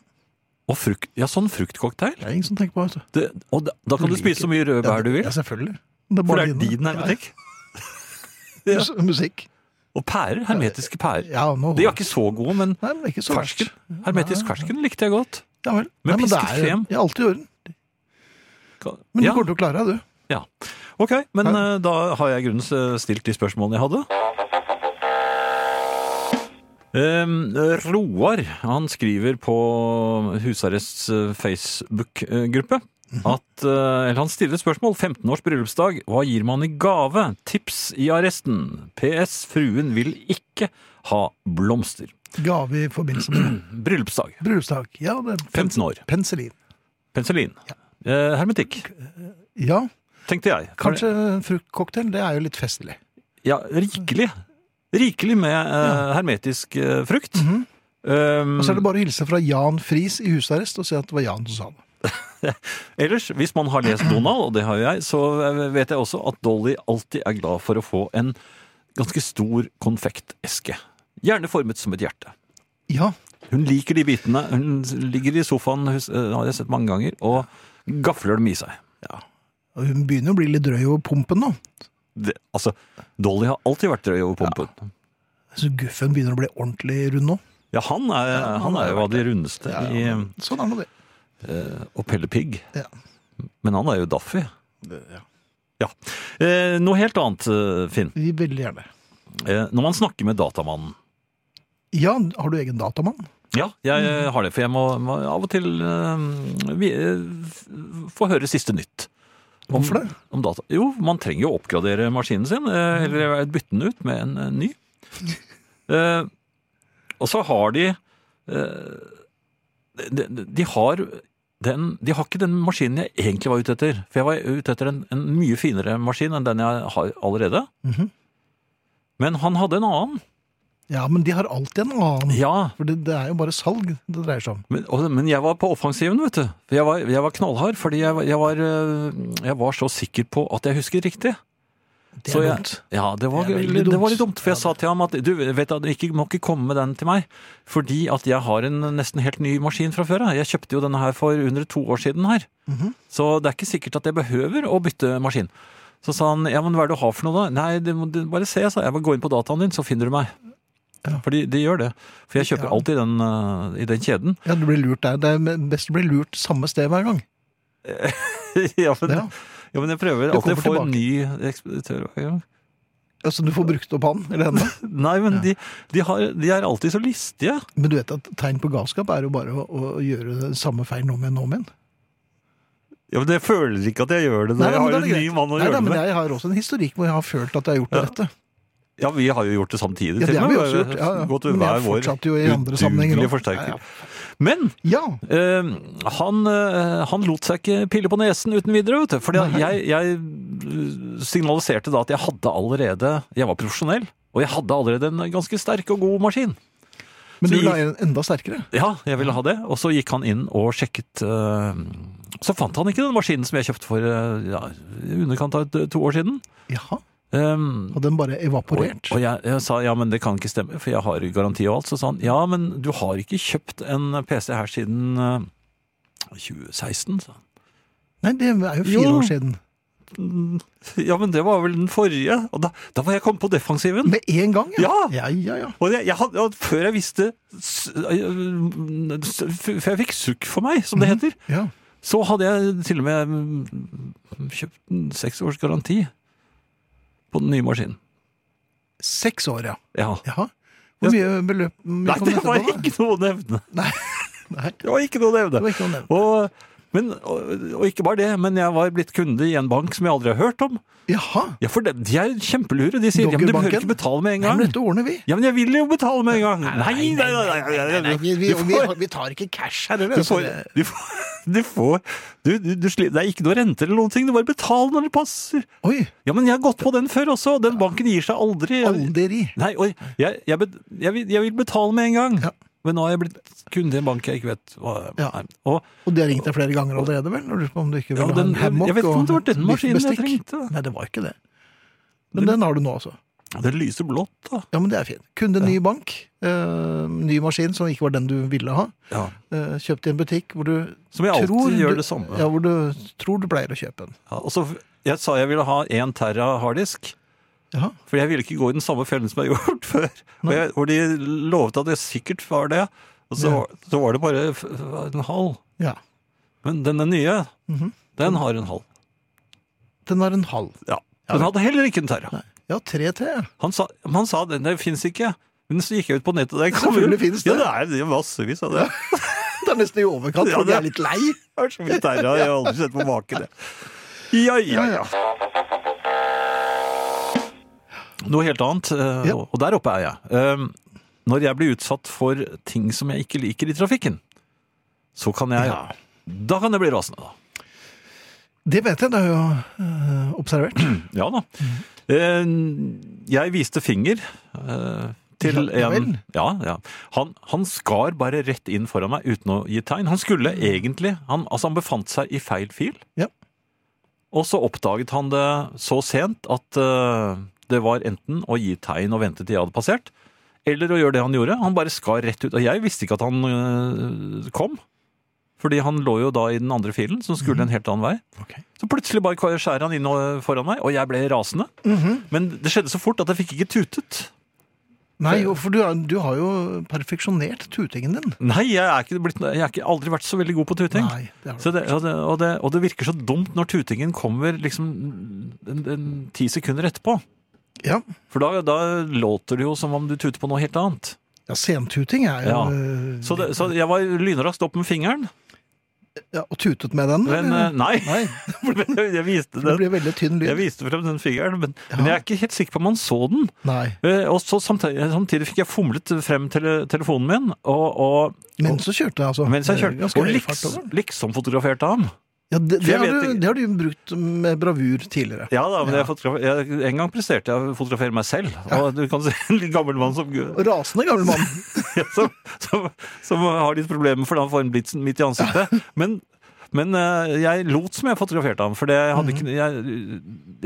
[SPEAKER 3] Og frukt, ja, sånn fruktcocktail?
[SPEAKER 2] Det er ingen som tenker på vet du.
[SPEAKER 3] Det, og da, da kan du
[SPEAKER 2] Du
[SPEAKER 3] spise
[SPEAKER 2] liker-
[SPEAKER 3] så mye røde
[SPEAKER 2] Ja,
[SPEAKER 3] bær du vil,
[SPEAKER 2] Ja, selvfølgelig. Det er
[SPEAKER 3] for
[SPEAKER 2] bare
[SPEAKER 3] det er
[SPEAKER 2] dine.
[SPEAKER 3] din hermetikk.
[SPEAKER 2] Ja, [laughs] ja. Musikk.
[SPEAKER 3] Og pærer, hermetiske pærer.
[SPEAKER 2] Ja, nå...
[SPEAKER 3] De er ikke så gode, men
[SPEAKER 2] Nei, men det er ikke så
[SPEAKER 3] fersken.
[SPEAKER 2] verst.
[SPEAKER 3] Hermetisk fersken likte jeg godt.
[SPEAKER 2] Ja vel. Nei,
[SPEAKER 3] Med
[SPEAKER 2] men det
[SPEAKER 3] pisket
[SPEAKER 2] er-
[SPEAKER 3] krem.
[SPEAKER 2] Ja, alt i orden. Men
[SPEAKER 3] Ja,
[SPEAKER 2] du kommer til å klare deg, du.
[SPEAKER 3] ja. Ok, men
[SPEAKER 2] Ja.
[SPEAKER 3] eh, da har jeg i grunnen eh, stilt de spørsmålene jeg hadde. Em, Ehm, eh, Roar han skriver på husarrests eh, Facebook-gruppe at eh, Eller han stiller et spørsmål. 15 års bryllupsdag. Hva gir man i gave? Tips i arresten. PS. Fruen vil ikke ha blomster.
[SPEAKER 2] Gave i forbindelse med
[SPEAKER 3] Bryllupsdag.
[SPEAKER 2] bryllupsdag. Ja, det er
[SPEAKER 3] 15 år.
[SPEAKER 2] Penicillin.
[SPEAKER 3] Penicillin. Eh, hermetikk,
[SPEAKER 2] Ja,
[SPEAKER 3] tenkte jeg. For-
[SPEAKER 2] kanskje en fruktcocktail. Det er jo litt festlig.
[SPEAKER 3] Ja, rikelig. Rikelig med eh, hermetisk eh, frukt. Um,
[SPEAKER 2] Mhm. Og så er det bare å hilse fra Jan Friis i husarrest og si at det var Jan som sa det.
[SPEAKER 3] Ellers, hvis man har lest Donald, og det har jo jeg, så eh, vet jeg også at Dolly alltid er glad for å få en ganske stor konfekteske. Gjerne formet som et hjerte.
[SPEAKER 2] Ja,
[SPEAKER 3] Hun liker de bitene. Hun ligger i sofaen, hus- eh, har jeg sett mange ganger, og gafler dem i seg.
[SPEAKER 2] og hun begynner å bli litt drøy over pumpen nå.
[SPEAKER 3] Det, altså, Dolly har alltid vært drøy over pumpen. Ja,
[SPEAKER 2] Så guffen begynner å bli ordentlig rund nå.
[SPEAKER 3] han, er, han er jo av de rundeste i
[SPEAKER 2] Sånn er nå det.
[SPEAKER 3] og Pelle Pigg.
[SPEAKER 2] Ja.
[SPEAKER 3] Men han er jo Daffy. Ja. Eh, noe helt annet, eh, Finn.
[SPEAKER 2] Vi Veldig gjerne.
[SPEAKER 3] Eh, når man snakker med datamannen
[SPEAKER 2] Ja, har du egen datamann?
[SPEAKER 3] Ja, jeg eh,
[SPEAKER 2] Mm.
[SPEAKER 3] har det, for jeg må, må av og til eh, vi, eh, f- få høre siste nytt. Om-
[SPEAKER 2] Hvorfor det?
[SPEAKER 3] Om data. Jo, man trenger jo å oppgradere maskinen sin, eh, eller bytte den ut med en eh, ny. Eh, og så har de eh, de, de- de har den, de har ikke den maskinen jeg egentlig var ute etter. For jeg var ute etter en, en mye finere maskin enn den jeg har allerede.
[SPEAKER 2] Mhm.
[SPEAKER 3] Men han hadde en annen.
[SPEAKER 2] Ja, men de har alltid en annen.
[SPEAKER 3] Ja,
[SPEAKER 2] For det, det er jo bare salg det dreier seg om.
[SPEAKER 3] Men, og, men jeg var på offensiven, vet du. For Jeg var, jeg var knallhard, fordi jeg, var- jeg, var, øh, jeg var så sikker på at jeg husket riktig.
[SPEAKER 2] Det
[SPEAKER 3] Så
[SPEAKER 2] er
[SPEAKER 3] jeg-
[SPEAKER 2] dumt.
[SPEAKER 3] Ja, det var,
[SPEAKER 2] Det er
[SPEAKER 3] det,
[SPEAKER 2] veldig dumt.
[SPEAKER 3] var litt dumt, for jeg
[SPEAKER 2] Ja,
[SPEAKER 3] sa til ham at du vet at du ikke må ikke komme med den til meg, fordi at jeg har en nesten helt ny maskin fra før. ja. Jeg kjøpte jo
[SPEAKER 2] Mhm.
[SPEAKER 3] denne her for under to år siden her. Så det er ikke sikkert at jeg behøver å bytte maskin. Så sa han ja, men hva er det du har for noe da? Nei, du må du bare se, sa jeg. Bare gå inn på dataen din, så finner du meg.
[SPEAKER 2] Ja.
[SPEAKER 3] For de, de gjør det. For jeg kjøper
[SPEAKER 2] Ja.
[SPEAKER 3] alltid den, eh, i den kjeden. [laughs]
[SPEAKER 2] Ja, du blir lurt der. Det er best å bli lurt samme sted hver gang.
[SPEAKER 3] ja, men, ja.
[SPEAKER 2] Ja.
[SPEAKER 3] men jeg prøver
[SPEAKER 2] Du
[SPEAKER 3] alltid å få
[SPEAKER 2] kommer
[SPEAKER 3] en ny ekspeditør. hver gang.
[SPEAKER 2] Altså, du får brukt opp han eller henne.
[SPEAKER 3] Nei, men de, de, har, de er alltid så listige.
[SPEAKER 2] Men du vet at tegn på galskap er jo bare å, å gjøre det samme feil om igjen og om igjen.
[SPEAKER 3] Ja, men Jeg føler ikke at jeg gjør det. når jeg
[SPEAKER 2] men
[SPEAKER 3] har
[SPEAKER 2] da
[SPEAKER 3] en
[SPEAKER 2] er det
[SPEAKER 3] ny
[SPEAKER 2] greit.
[SPEAKER 3] mann å
[SPEAKER 2] Nei,
[SPEAKER 3] gjøre
[SPEAKER 2] nei,
[SPEAKER 3] det
[SPEAKER 2] men
[SPEAKER 3] med.
[SPEAKER 2] Jeg har også en historikk hvor jeg har følt at jeg har gjort det
[SPEAKER 3] Ja.
[SPEAKER 2] rette.
[SPEAKER 3] Ja, vi har jo gjort det samtidig.
[SPEAKER 2] Ja, det
[SPEAKER 3] til og
[SPEAKER 2] har vi
[SPEAKER 3] med.
[SPEAKER 2] også gjort. Ja, ja.
[SPEAKER 3] Gått
[SPEAKER 2] Men jeg
[SPEAKER 3] hver vår
[SPEAKER 2] fortsatte jo i andre sammenhenger
[SPEAKER 3] udugelige
[SPEAKER 2] også.
[SPEAKER 3] forsterker.
[SPEAKER 2] Ja, ja.
[SPEAKER 3] Men
[SPEAKER 2] Ja,
[SPEAKER 3] eh, han, eh, han lot seg ikke pille på nesen uten videre, vet du. Fordi jeg, jeg signaliserte da at jeg hadde allerede Jeg var profesjonell, og jeg hadde allerede en ganske sterk og god maskin.
[SPEAKER 2] men
[SPEAKER 3] Så
[SPEAKER 2] du
[SPEAKER 3] gikk-
[SPEAKER 2] la en enda sterkere.
[SPEAKER 3] Ja, jeg ville ha det. Og så gikk han inn og sjekket eh, Så fant han ikke den maskinen som jeg kjøpte for eh, ja, i underkant av et- to år siden.
[SPEAKER 2] Jaha,
[SPEAKER 3] Um,
[SPEAKER 2] og den bare evaporert.
[SPEAKER 3] Og, og jeg, jeg sa ja, men det kan ikke stemme, for jeg har garanti og alt. Så sa han ja, men du har ikke kjøpt en PC her siden eh, 2016, sa han. [laughs]
[SPEAKER 2] Nei, det er jo fire
[SPEAKER 3] Jo.
[SPEAKER 2] år siden.
[SPEAKER 3] Ja, men det var vel den forrige. Og da, da var jeg kommet på defensiven.
[SPEAKER 2] Med en gang, ja.
[SPEAKER 3] Ja!
[SPEAKER 2] Ja, ja, ja.
[SPEAKER 3] Og jeg, jeg hadde, og før jeg visste s- øh, s- Før jeg fikk sukk for meg, som det heter,
[SPEAKER 2] ja.
[SPEAKER 3] så hadde jeg til og med mm, kjøpt en seks års garanti på den nye maskinen.
[SPEAKER 2] Seks år, ja.
[SPEAKER 3] Ja.
[SPEAKER 2] Jaha. Hvor mye beløp mye
[SPEAKER 3] Nei,
[SPEAKER 2] kom
[SPEAKER 3] det var
[SPEAKER 2] etterpå, da?
[SPEAKER 3] ikke noe å nevne!
[SPEAKER 2] Nei,
[SPEAKER 3] Det var ikke noe å nevne.
[SPEAKER 2] det var ikke noe nevnt.
[SPEAKER 3] Og, men, og, og ikke bare det, men jeg var blitt kunde i en bank som jeg aldri har hørt om.
[SPEAKER 2] Jaha.
[SPEAKER 3] Ja, for de, de er kjempelure. De sier ja, men du
[SPEAKER 2] Doggerbanken?
[SPEAKER 3] behøver ikke betale med en
[SPEAKER 2] Nei,
[SPEAKER 3] gang.
[SPEAKER 2] men dette ordner vi.
[SPEAKER 3] Ja, men jeg vil jo betale med en gang. Nei, nei, nei. nei, nei, nei,
[SPEAKER 2] Nei, vi, vi,
[SPEAKER 3] Du
[SPEAKER 2] vi,
[SPEAKER 3] får,
[SPEAKER 2] vi tar ikke cash her, eller?
[SPEAKER 3] du får,
[SPEAKER 2] Altså,
[SPEAKER 3] du får, du får du, du, du, sli- Det er ikke noe renter eller noen ting. Du bare betaler når det passer.
[SPEAKER 2] det- Oi,
[SPEAKER 3] Ja, men jeg har gått på den før også. Den banken gir seg aldri.
[SPEAKER 2] aldri.
[SPEAKER 3] Nei, oi, jeg, jeg, bet- jeg, vil, jeg vil betale med en gang.
[SPEAKER 2] Ja.
[SPEAKER 3] Men nå har jeg blitt kunde i en bank jeg ikke vet hva
[SPEAKER 2] Ja.
[SPEAKER 3] nei. Og
[SPEAKER 2] Og de har ringt deg flere ganger allerede, vel? Og lurt på om du ikke
[SPEAKER 3] Ja,
[SPEAKER 2] ville ha
[SPEAKER 3] den-
[SPEAKER 2] en hammock
[SPEAKER 3] jeg vet ikke om det var den
[SPEAKER 2] og
[SPEAKER 3] maskinen jeg
[SPEAKER 2] biffbestikk.
[SPEAKER 3] trengte.
[SPEAKER 2] Nei, det var ikke det. Men den har du nå, altså.
[SPEAKER 3] det lyser blått, da.
[SPEAKER 2] Ja, men det er fint. Kunde ny bank, eh, ny maskin som ikke var den du ville ha.
[SPEAKER 3] Ja.
[SPEAKER 2] Eh, kjøpt i en butikk hvor du
[SPEAKER 3] Som jeg alltid
[SPEAKER 2] tror
[SPEAKER 3] gjør
[SPEAKER 2] du,
[SPEAKER 3] det samme.
[SPEAKER 2] Ja, hvor du tror du pleier å kjøpe den.
[SPEAKER 3] Ja, og så, jeg sa jeg ville ha én terra harddisk,
[SPEAKER 2] Ja,
[SPEAKER 3] for jeg ville ikke gå i den samme fellen som jeg har gjort [laughs] før. Og, jeg, og de lovet at jeg sikkert var det, og så,
[SPEAKER 2] Ja.
[SPEAKER 3] så var det bare f- en halv.
[SPEAKER 2] ja.
[SPEAKER 3] Men denne nye,
[SPEAKER 2] Mhm.
[SPEAKER 3] den har en halv.
[SPEAKER 2] Den har en halv.
[SPEAKER 3] Ja. Den hadde heller ikke en terra.
[SPEAKER 2] Nei. Ja, 3-3.
[SPEAKER 3] Han sa, men han sa den der fins ikke. Men så gikk jeg ut på nettet der.
[SPEAKER 2] Selvfølgelig finnes det.
[SPEAKER 3] Ja, det er det er massevis av det.
[SPEAKER 2] Det er nesten i overkant,
[SPEAKER 3] Ja,
[SPEAKER 2] for de
[SPEAKER 3] det-
[SPEAKER 2] er litt lei.
[SPEAKER 3] Det er så mye terra, jeg [laughs] har aldri sett på maken. jeg. Ja, ja, ja. Noe helt annet, eh,
[SPEAKER 2] Ja.
[SPEAKER 3] og og der oppe er jeg. Eh, Når jeg blir utsatt for ting som jeg ikke liker i trafikken, så kan jeg
[SPEAKER 2] Ja.
[SPEAKER 3] Da kan jeg bli rasende, da.
[SPEAKER 2] Det vet jeg, det har jeg jo eh, observert.
[SPEAKER 3] [clears throat] Ja da. Eh, Jeg viste finger eh, til
[SPEAKER 2] Ja, ja
[SPEAKER 3] en
[SPEAKER 2] vel.
[SPEAKER 3] Ja, ja. Han, han skar bare rett inn foran meg uten å gi tegn. Han skulle egentlig han, Altså, han befant seg i feil fil.
[SPEAKER 2] Ja.
[SPEAKER 3] Og så oppdaget han det så sent at eh, det var enten å gi tegn og vente til jeg hadde passert, eller å gjøre det han gjorde. Han bare skar rett ut. Og jeg visste ikke at han eh, kom. Fordi han lå jo da i den andre filen, som skulle
[SPEAKER 2] Mhm.
[SPEAKER 3] en helt annen vei.
[SPEAKER 2] Ok.
[SPEAKER 3] Så plutselig bare skjærer han inn og- foran meg, og jeg ble rasende. Men det skjedde så fort at jeg fikk ikke tutet.
[SPEAKER 2] Nei, jo, for du, er, du har jo perfeksjonert tutingen din.
[SPEAKER 3] Nei, jeg er ikke blitt, jeg er ikke, aldri vært så veldig god på tuting.
[SPEAKER 2] Nei, det har du.
[SPEAKER 3] Så det, og, det, og, det, og det virker så dumt når tutingen kommer liksom en, en, ti sekunder etterpå.
[SPEAKER 2] Ja.
[SPEAKER 3] For da, da låter det jo som om du tuter på noe helt annet.
[SPEAKER 2] ja, sentuting er jo
[SPEAKER 3] Ja.
[SPEAKER 2] eh,
[SPEAKER 3] Så, det, så jeg var lynraskt opp med fingeren,
[SPEAKER 2] ja, Og tutet med den?
[SPEAKER 3] men
[SPEAKER 2] eller?
[SPEAKER 3] eh, nei. [laughs]
[SPEAKER 2] Nei,
[SPEAKER 3] Jeg
[SPEAKER 2] [laughs]
[SPEAKER 3] viste
[SPEAKER 2] det
[SPEAKER 3] den.
[SPEAKER 2] blir veldig tynn
[SPEAKER 3] Jeg
[SPEAKER 2] lyd.
[SPEAKER 3] viste frem den fingeren, men, men jeg er ikke helt sikker på om han så den.
[SPEAKER 2] Nei.
[SPEAKER 3] Eh, Og så samtidig, samtidig fikk jeg fomlet frem tele, telefonen min, og, og
[SPEAKER 2] Mens du kjørte, altså.
[SPEAKER 3] mens jeg
[SPEAKER 2] Det er
[SPEAKER 3] kjørte.
[SPEAKER 2] Ganske
[SPEAKER 3] Og
[SPEAKER 2] høy fart
[SPEAKER 3] liksom,
[SPEAKER 2] over.
[SPEAKER 3] liksom fotograferte ham.
[SPEAKER 2] Ja, det,
[SPEAKER 3] For jeg
[SPEAKER 2] det, har
[SPEAKER 3] vet
[SPEAKER 2] du,
[SPEAKER 3] ikke-
[SPEAKER 2] det har du brukt med bravur tidligere.
[SPEAKER 3] Ja da, men
[SPEAKER 2] Ja.
[SPEAKER 3] Jeg fotografer- jeg, en gang presterte jeg å fotografere meg selv. Og du kan se en litt gammel mann som,
[SPEAKER 2] Og Rasende gammel mann.
[SPEAKER 3] [laughs] som, som, som har litt problemer for da får en blitsen midt i [laughs] ansiktet. Men, men eh, jeg lot som jeg fotograferte ham, for det hadde ikke, jeg,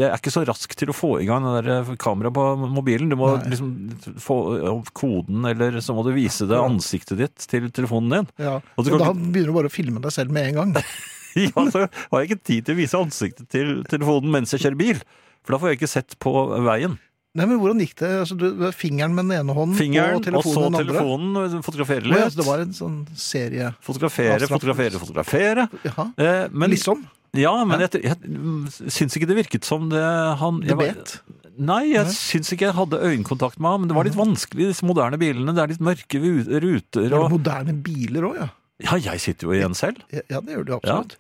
[SPEAKER 3] jeg er ikke så rask til å få i gang det der kameraet på mobilen. Du må
[SPEAKER 2] Nei.
[SPEAKER 3] liksom få opp koden, eller så må du vise det ansiktet ditt til telefonen din.
[SPEAKER 2] Ja.
[SPEAKER 3] Og
[SPEAKER 2] Og
[SPEAKER 3] du kan
[SPEAKER 2] da begynner du bare å filme deg selv med en gang.
[SPEAKER 3] [laughs] Ja, så har jeg ikke tid til å vise ansiktet til telefonen mens jeg kjører bil. For da får jeg ikke sett på veien.
[SPEAKER 2] Nei, men hvordan gikk det? Altså, du, det var fingeren med den ene hånden
[SPEAKER 3] Fingeren,
[SPEAKER 2] og
[SPEAKER 3] og
[SPEAKER 2] telefonen
[SPEAKER 3] så
[SPEAKER 2] med den andre?
[SPEAKER 3] telefonen,
[SPEAKER 2] Å
[SPEAKER 3] fotografere
[SPEAKER 2] ja,
[SPEAKER 3] litt.
[SPEAKER 2] så det var en sånn serie
[SPEAKER 3] Fotografere,
[SPEAKER 2] Abstrakt.
[SPEAKER 3] fotografere, fotografere.
[SPEAKER 2] Jaha.
[SPEAKER 3] Eh, men,
[SPEAKER 2] liksom.
[SPEAKER 3] Ja, men jeg, jeg mm, syns ikke det virket som det han
[SPEAKER 2] Du
[SPEAKER 3] jeg var-
[SPEAKER 2] bet.
[SPEAKER 3] Nei, jeg
[SPEAKER 2] Nei.
[SPEAKER 3] syns ikke jeg hadde øyekontakt med ham. Men det var litt vanskelig, disse moderne bilene. Det er litt mørke vu- ruter
[SPEAKER 2] Var det
[SPEAKER 3] og
[SPEAKER 2] moderne biler òg, ja?
[SPEAKER 3] Ja, jeg sitter jo igjen selv.
[SPEAKER 2] Ja, Ja, det gjør du absolutt.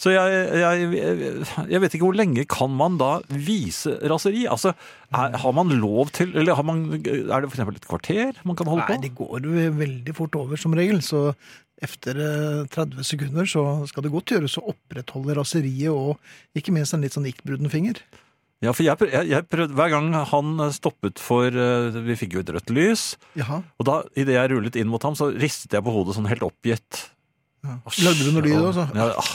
[SPEAKER 3] Så jeg, jeg, jeg- jeg vet ikke hvor lenge kan man da vise raseri? Altså, er, har man lov til Eller har man, er det for eksempel et kvarter man kan holde
[SPEAKER 2] Nei,
[SPEAKER 3] på?
[SPEAKER 2] det går jo veldig fort over som regel, så efter eh, 30 sekunder så skal det godt gjøres å opprettholde raseriet og ikke minst en litt sånn iktbruden finger.
[SPEAKER 3] Ja, for jeg, prøv- jeg, jeg prøvde, Hver gang han stoppet for eh, Vi fikk jo et rødt lys.
[SPEAKER 2] Jaha.
[SPEAKER 3] Og da, idet jeg rullet inn mot ham, så ristet jeg på hodet sånn helt oppgitt.
[SPEAKER 2] Ja.
[SPEAKER 3] Asj,
[SPEAKER 2] Lagde du noe lyd
[SPEAKER 3] og-
[SPEAKER 2] også?
[SPEAKER 3] Ja, ah.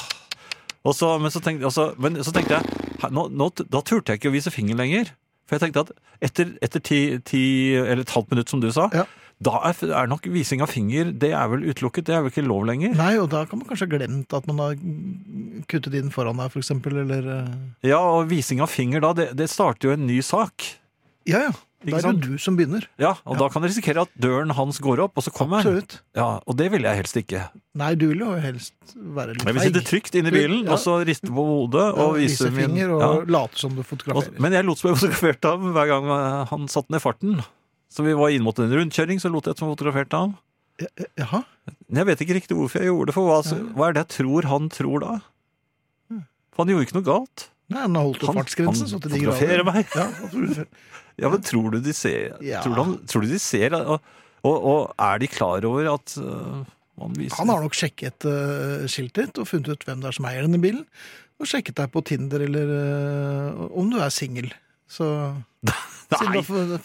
[SPEAKER 3] og så, men, så tenkte, og så, men så tenkte jeg her, nå, nå, Da turte jeg ikke å vise fingeren lenger. For jeg tenkte at etter, etter ti, ti eller et halvt minutt, som du sa,
[SPEAKER 2] Ja.
[SPEAKER 3] da er, f- er nok vising av finger Det er vel utelukket? Det er vel ikke lov lenger?
[SPEAKER 2] Nei, og da kan man kanskje ha glemt at man har kuttet inn foran deg, for eksempel, eller eh,
[SPEAKER 3] Ja, og vising av finger da, det, det starter jo en ny sak.
[SPEAKER 2] Ja, ja.
[SPEAKER 3] Ikke
[SPEAKER 2] Da er
[SPEAKER 3] sant?
[SPEAKER 2] det jo du som begynner.
[SPEAKER 3] Ja, Og da kan det risikere at døren hans går opp, og så kommer han.
[SPEAKER 2] Absolutt.
[SPEAKER 3] Ja, og det ville jeg helst ikke.
[SPEAKER 2] Nei, du vil jo helst være litt
[SPEAKER 3] Jeg vil sitte trygt inne i bilen,
[SPEAKER 2] Ja.
[SPEAKER 3] og så riste på hodet
[SPEAKER 2] og
[SPEAKER 3] og vise min
[SPEAKER 2] finger og
[SPEAKER 3] ja.
[SPEAKER 2] late som du
[SPEAKER 3] Og-
[SPEAKER 2] fotograferer.
[SPEAKER 3] Men jeg lot som jeg [laughs] fotograferte ham hver gang eh, han satte ned farten. Så vi var inn mot en rundkjøring, så lot jeg som jeg fotograferte ham.
[SPEAKER 2] eh, Jaha.
[SPEAKER 3] Men jeg vet ikke riktig hvorfor jeg gjorde det, for hva, hva er det jeg tror han tror da?
[SPEAKER 2] Hm.
[SPEAKER 3] For han gjorde ikke noe galt.
[SPEAKER 2] Nei, han har holdt opp
[SPEAKER 3] Han-
[SPEAKER 2] fartsgrensen
[SPEAKER 3] han
[SPEAKER 2] så til de
[SPEAKER 3] fotograferer
[SPEAKER 2] grader.
[SPEAKER 3] meg.
[SPEAKER 2] Ja, han fotograferer.
[SPEAKER 3] Ja, men tror du de ser
[SPEAKER 2] Ja.
[SPEAKER 3] tror, du han, tror du de ser og, og, og er de klar over at eh, man viser
[SPEAKER 2] han har nok sjekket eh, skiltet ditt og funnet ut hvem det er som eier denne bilen. Og sjekket deg på Tinder eller eh, om du er singel. Så
[SPEAKER 3] Nei!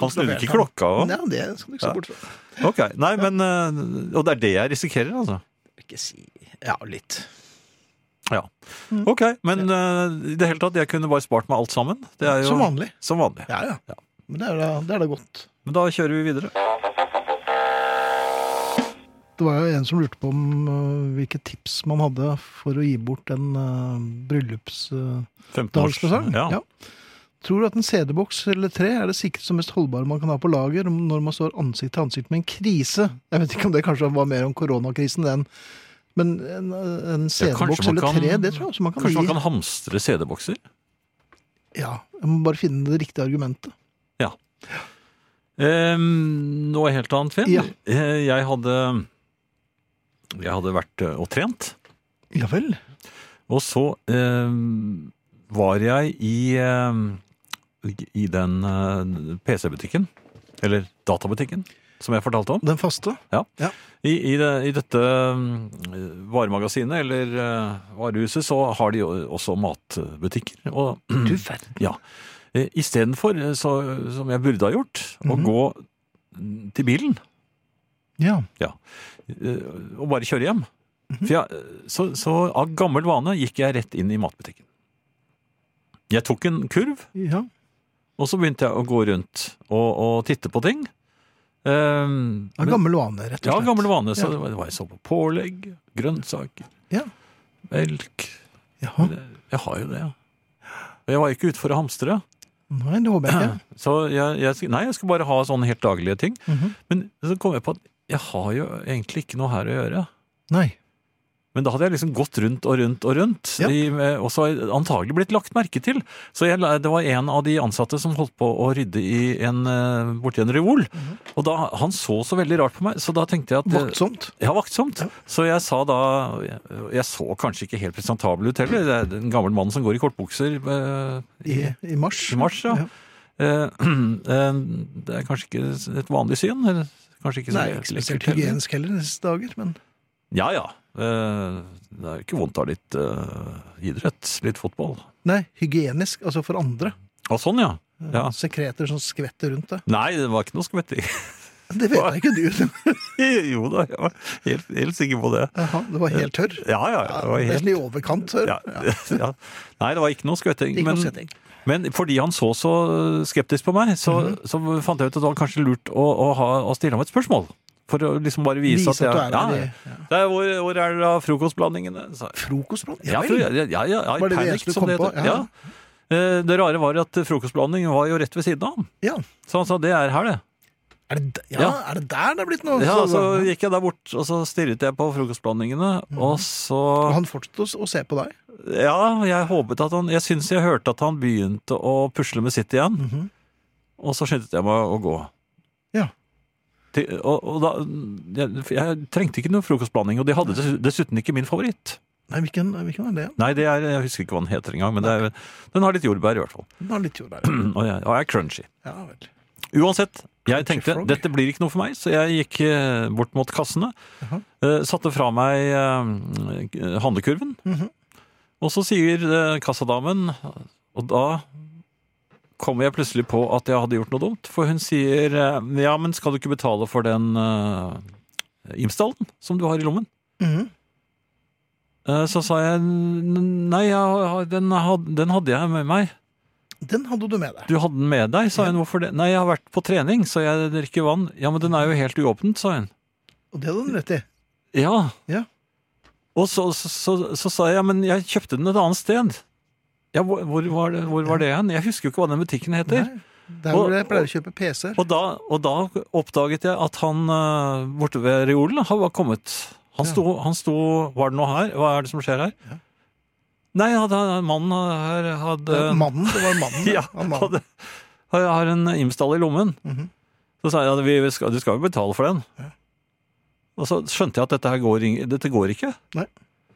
[SPEAKER 3] Han snudde ikke klokka òg.
[SPEAKER 2] Ja, det skal du ikke
[SPEAKER 3] Ja.
[SPEAKER 2] se bort fra.
[SPEAKER 3] Ok, Nei, men eh, Og det er det jeg risikerer, altså.
[SPEAKER 2] Ikke si Ja, litt.
[SPEAKER 3] Ja.
[SPEAKER 2] Hm.
[SPEAKER 3] Ok, men eh, i det hele tatt, jeg kunne bare spart meg alt sammen. Det er jo
[SPEAKER 2] Som vanlig.
[SPEAKER 3] Som vanlig.
[SPEAKER 2] Ja, ja.
[SPEAKER 3] Ja.
[SPEAKER 2] Men det er da, det er da godt.
[SPEAKER 3] Men da kjører vi videre.
[SPEAKER 2] Det var jo en som lurte på om øh, hvilke tips man hadde for å gi bort en uh, bryllupsdagspresang.
[SPEAKER 3] 15 Ja.
[SPEAKER 2] Tror du at en CD-boks eller tre er det sikreste og mest holdbare man kan ha på lager om- når man står ansikt til ansikt med en krise? Jeg vet ikke om det kanskje var mer om koronakrisen den, men en, øh, en
[SPEAKER 3] Ja, kanskje
[SPEAKER 2] CD-boks
[SPEAKER 3] man
[SPEAKER 2] eller
[SPEAKER 3] kan-
[SPEAKER 2] tre, det tror jeg også man kan
[SPEAKER 3] Kanskje
[SPEAKER 2] gi.
[SPEAKER 3] man kan hamstre CD-bokser?
[SPEAKER 2] Ja, jeg må bare finne det riktige argumentet.
[SPEAKER 3] Ehm, noe helt annet, Finn.
[SPEAKER 2] Ja.
[SPEAKER 3] Eh, Jeg hadde Jeg hadde vært eh, og trent,
[SPEAKER 2] Ja vel.
[SPEAKER 3] og så ehm, var jeg i ehm, i den eh, PC-butikken, eller databutikken, som jeg fortalte om.
[SPEAKER 2] Den faste?
[SPEAKER 3] I, i, det, I dette mm, varemagasinet, eller eh, varehuset, så har de jo også matbutikker. Og
[SPEAKER 2] Du verden.
[SPEAKER 3] Ja. Eh, Istedenfor, eh, så, som jeg burde ha gjort, å
[SPEAKER 2] Mhm.
[SPEAKER 3] gå mm, til bilen
[SPEAKER 2] Ja.
[SPEAKER 3] eh, og bare kjøre hjem. For jeg, eh, så, så av gammel vane gikk jeg rett inn i matbutikken. Jeg tok en kurv,
[SPEAKER 2] ja.
[SPEAKER 3] og så begynte jeg å gå rundt og, og titte på ting. Um,
[SPEAKER 2] Av gammel vane, rett og slett.
[SPEAKER 3] ja, gammel vane. Så
[SPEAKER 2] Ja.
[SPEAKER 3] det var- det var jeg så på pålegg, grønnsaker,
[SPEAKER 2] Ja.
[SPEAKER 3] melk.
[SPEAKER 2] Jaha.
[SPEAKER 3] Jeg har jo det, ja. Og jeg var ikke ute for å hamstre.
[SPEAKER 2] Nei, det håper
[SPEAKER 3] [clears throat]
[SPEAKER 2] jeg ikke.
[SPEAKER 3] Så jeg, jeg, nei, jeg skal bare ha sånne helt daglige ting.
[SPEAKER 2] Mhm.
[SPEAKER 3] Men så kom jeg på at jeg har jo egentlig ikke noe her å gjøre.
[SPEAKER 2] Nei.
[SPEAKER 3] Men da hadde jeg liksom gått rundt og rundt og rundt,
[SPEAKER 2] Ja.
[SPEAKER 3] i, eh, og så har jeg antagelig blitt lagt merke til. Så jeg, la- det var en av de ansatte som holdt på å rydde i en, eh, borti en reol.
[SPEAKER 2] Mhm.
[SPEAKER 3] Og da, han så så veldig rart på meg, så da tenkte jeg at eh,
[SPEAKER 2] Vaktsomt.
[SPEAKER 3] ja, vaktsomt. Så jeg sa da Jeg, jeg så kanskje ikke helt presentabel ut heller. Det er en gammel mann som går i kortbukser eh,
[SPEAKER 2] I, i mars.
[SPEAKER 3] i mars, ja. Eh, [clears throat] eh, det er kanskje ikke et vanlig syn. eller Kanskje ikke så
[SPEAKER 2] Nei, ikke spesielt
[SPEAKER 3] heller.
[SPEAKER 2] hygienisk heller i disse dager, men
[SPEAKER 3] Ja, ja. Eh, det er jo ikke vondt av litt eh, idrett. Litt fotball.
[SPEAKER 2] Nei, hygienisk, altså for andre.
[SPEAKER 3] Å, sånn, ja. ja.
[SPEAKER 2] Sekreter som skvetter rundt deg.
[SPEAKER 3] Nei, det var ikke noe skvetting.
[SPEAKER 2] Det vet jeg ikke, du.
[SPEAKER 3] [laughs] jo da, jeg var helt, helt sikker på det.
[SPEAKER 2] Jaha, det var helt tørr.
[SPEAKER 3] Ja, ja. Det var helt,
[SPEAKER 2] Nesten i overkant tørr.
[SPEAKER 3] ja, [laughs] ja. Nei, det var ikke noe skvetting.
[SPEAKER 2] Ikke noe
[SPEAKER 3] men-
[SPEAKER 2] skvetting.
[SPEAKER 3] Men fordi han så så skeptisk på meg, så,
[SPEAKER 2] Mhm.
[SPEAKER 3] så fant jeg ut at det var kanskje lurt å, å, ha, å stille ham et spørsmål. For å liksom bare vise,
[SPEAKER 2] Vise at
[SPEAKER 3] at jeg
[SPEAKER 2] du er der i-
[SPEAKER 3] ja, det er, hvor, hvor er det av frokostblandingene? sa jeg.
[SPEAKER 2] Frokostbrød? Ja
[SPEAKER 3] Ja, for-
[SPEAKER 2] vel.
[SPEAKER 3] ja, ja, ja, ja,
[SPEAKER 2] Var det det
[SPEAKER 3] panic,
[SPEAKER 2] eneste du
[SPEAKER 3] som
[SPEAKER 2] kom
[SPEAKER 3] heter.
[SPEAKER 2] på? Ja.
[SPEAKER 3] Ja. Eh, Det rare var at frokostblanding var jo rett ved siden av ham.
[SPEAKER 2] Ja.
[SPEAKER 3] Så han sa det er her, det.
[SPEAKER 2] Er det, d- ja,
[SPEAKER 3] Ja.
[SPEAKER 2] er det der det er blitt noe?
[SPEAKER 3] Ja,
[SPEAKER 2] Så-
[SPEAKER 3] Så gikk jeg der bort, og så stirret jeg på frokostblandingene, og
[SPEAKER 2] Mm. Og
[SPEAKER 3] så
[SPEAKER 2] han fortsatte å, s- å se på deg.
[SPEAKER 3] Ja, jeg håpet at han Jeg syns jeg hørte at han begynte å pusle med sitt igjen,
[SPEAKER 2] Mhm.
[SPEAKER 3] og så skyndte jeg meg å gå.
[SPEAKER 2] Ja.
[SPEAKER 3] Til, og, og da jeg, jeg trengte ikke noe frokostblanding, og de hadde dess- dessuten ikke min favoritt.
[SPEAKER 2] Nei, hvilken, hvilken er det?
[SPEAKER 3] Nei, det er, jeg husker ikke hva den heter engang, men det er, den har litt jordbær i hvert fall.
[SPEAKER 2] Den har litt jord der.
[SPEAKER 3] Og jeg, og jeg er crunchy.
[SPEAKER 2] Ja vel.
[SPEAKER 3] Uansett, jeg tenkte
[SPEAKER 2] frog.
[SPEAKER 3] dette blir ikke noe for meg, så jeg gikk eh, bort mot kassene.
[SPEAKER 2] Jaha.
[SPEAKER 3] eh, Satte fra meg eh, handlekurven.
[SPEAKER 2] Mhm.
[SPEAKER 3] Og så sier eh, kassadamen Og da kommer jeg plutselig på at jeg hadde gjort noe dumt. For hun sier eh, Ja, men skal du ikke betale for den uh, Imsdalen som du har i lommen?
[SPEAKER 2] Mhm.
[SPEAKER 3] Eh, så sa jeg "N- Nei, jeg, har- den, had, den hadde jeg med meg.
[SPEAKER 2] Den hadde du med deg.
[SPEAKER 3] Du hadde den med deg, sa hun. Hvorfor det? Nei, jeg har vært på trening, så jeg drikker vann. Ja, men den er jo helt uåpnet, sa hun.
[SPEAKER 2] Og det hadde han rett i.
[SPEAKER 3] Ja.
[SPEAKER 2] Ja.
[SPEAKER 3] Og så, så, så, så sa jeg, men jeg kjøpte den et annet sted. Ja, hvor, hvor, var, det, hvor var det hen? Jeg husker jo ikke hva den butikken heter.
[SPEAKER 2] Nei, Der
[SPEAKER 3] Og-
[SPEAKER 2] hvor jeg pleier å kjøpe PC-er.
[SPEAKER 3] Og da, og da oppdaget jeg at han eh, borte ved reolen har var kommet. Han
[SPEAKER 2] Ja.
[SPEAKER 3] sto, han sto Var det noe her? Hva er det som skjer her?
[SPEAKER 2] Ja.
[SPEAKER 3] Nei, hadde, mannen her hadde
[SPEAKER 2] Mannen, det var mannen.
[SPEAKER 3] [laughs] Ja,
[SPEAKER 2] Han mannen.
[SPEAKER 3] hadde, har, har en Imsdal i lommen.
[SPEAKER 2] Mhm.
[SPEAKER 3] Så sa jeg at vi, vi skal, du skal jo betale for den. Og så skjønte jeg at dette, her går, ing- dette går ikke.
[SPEAKER 2] Nei.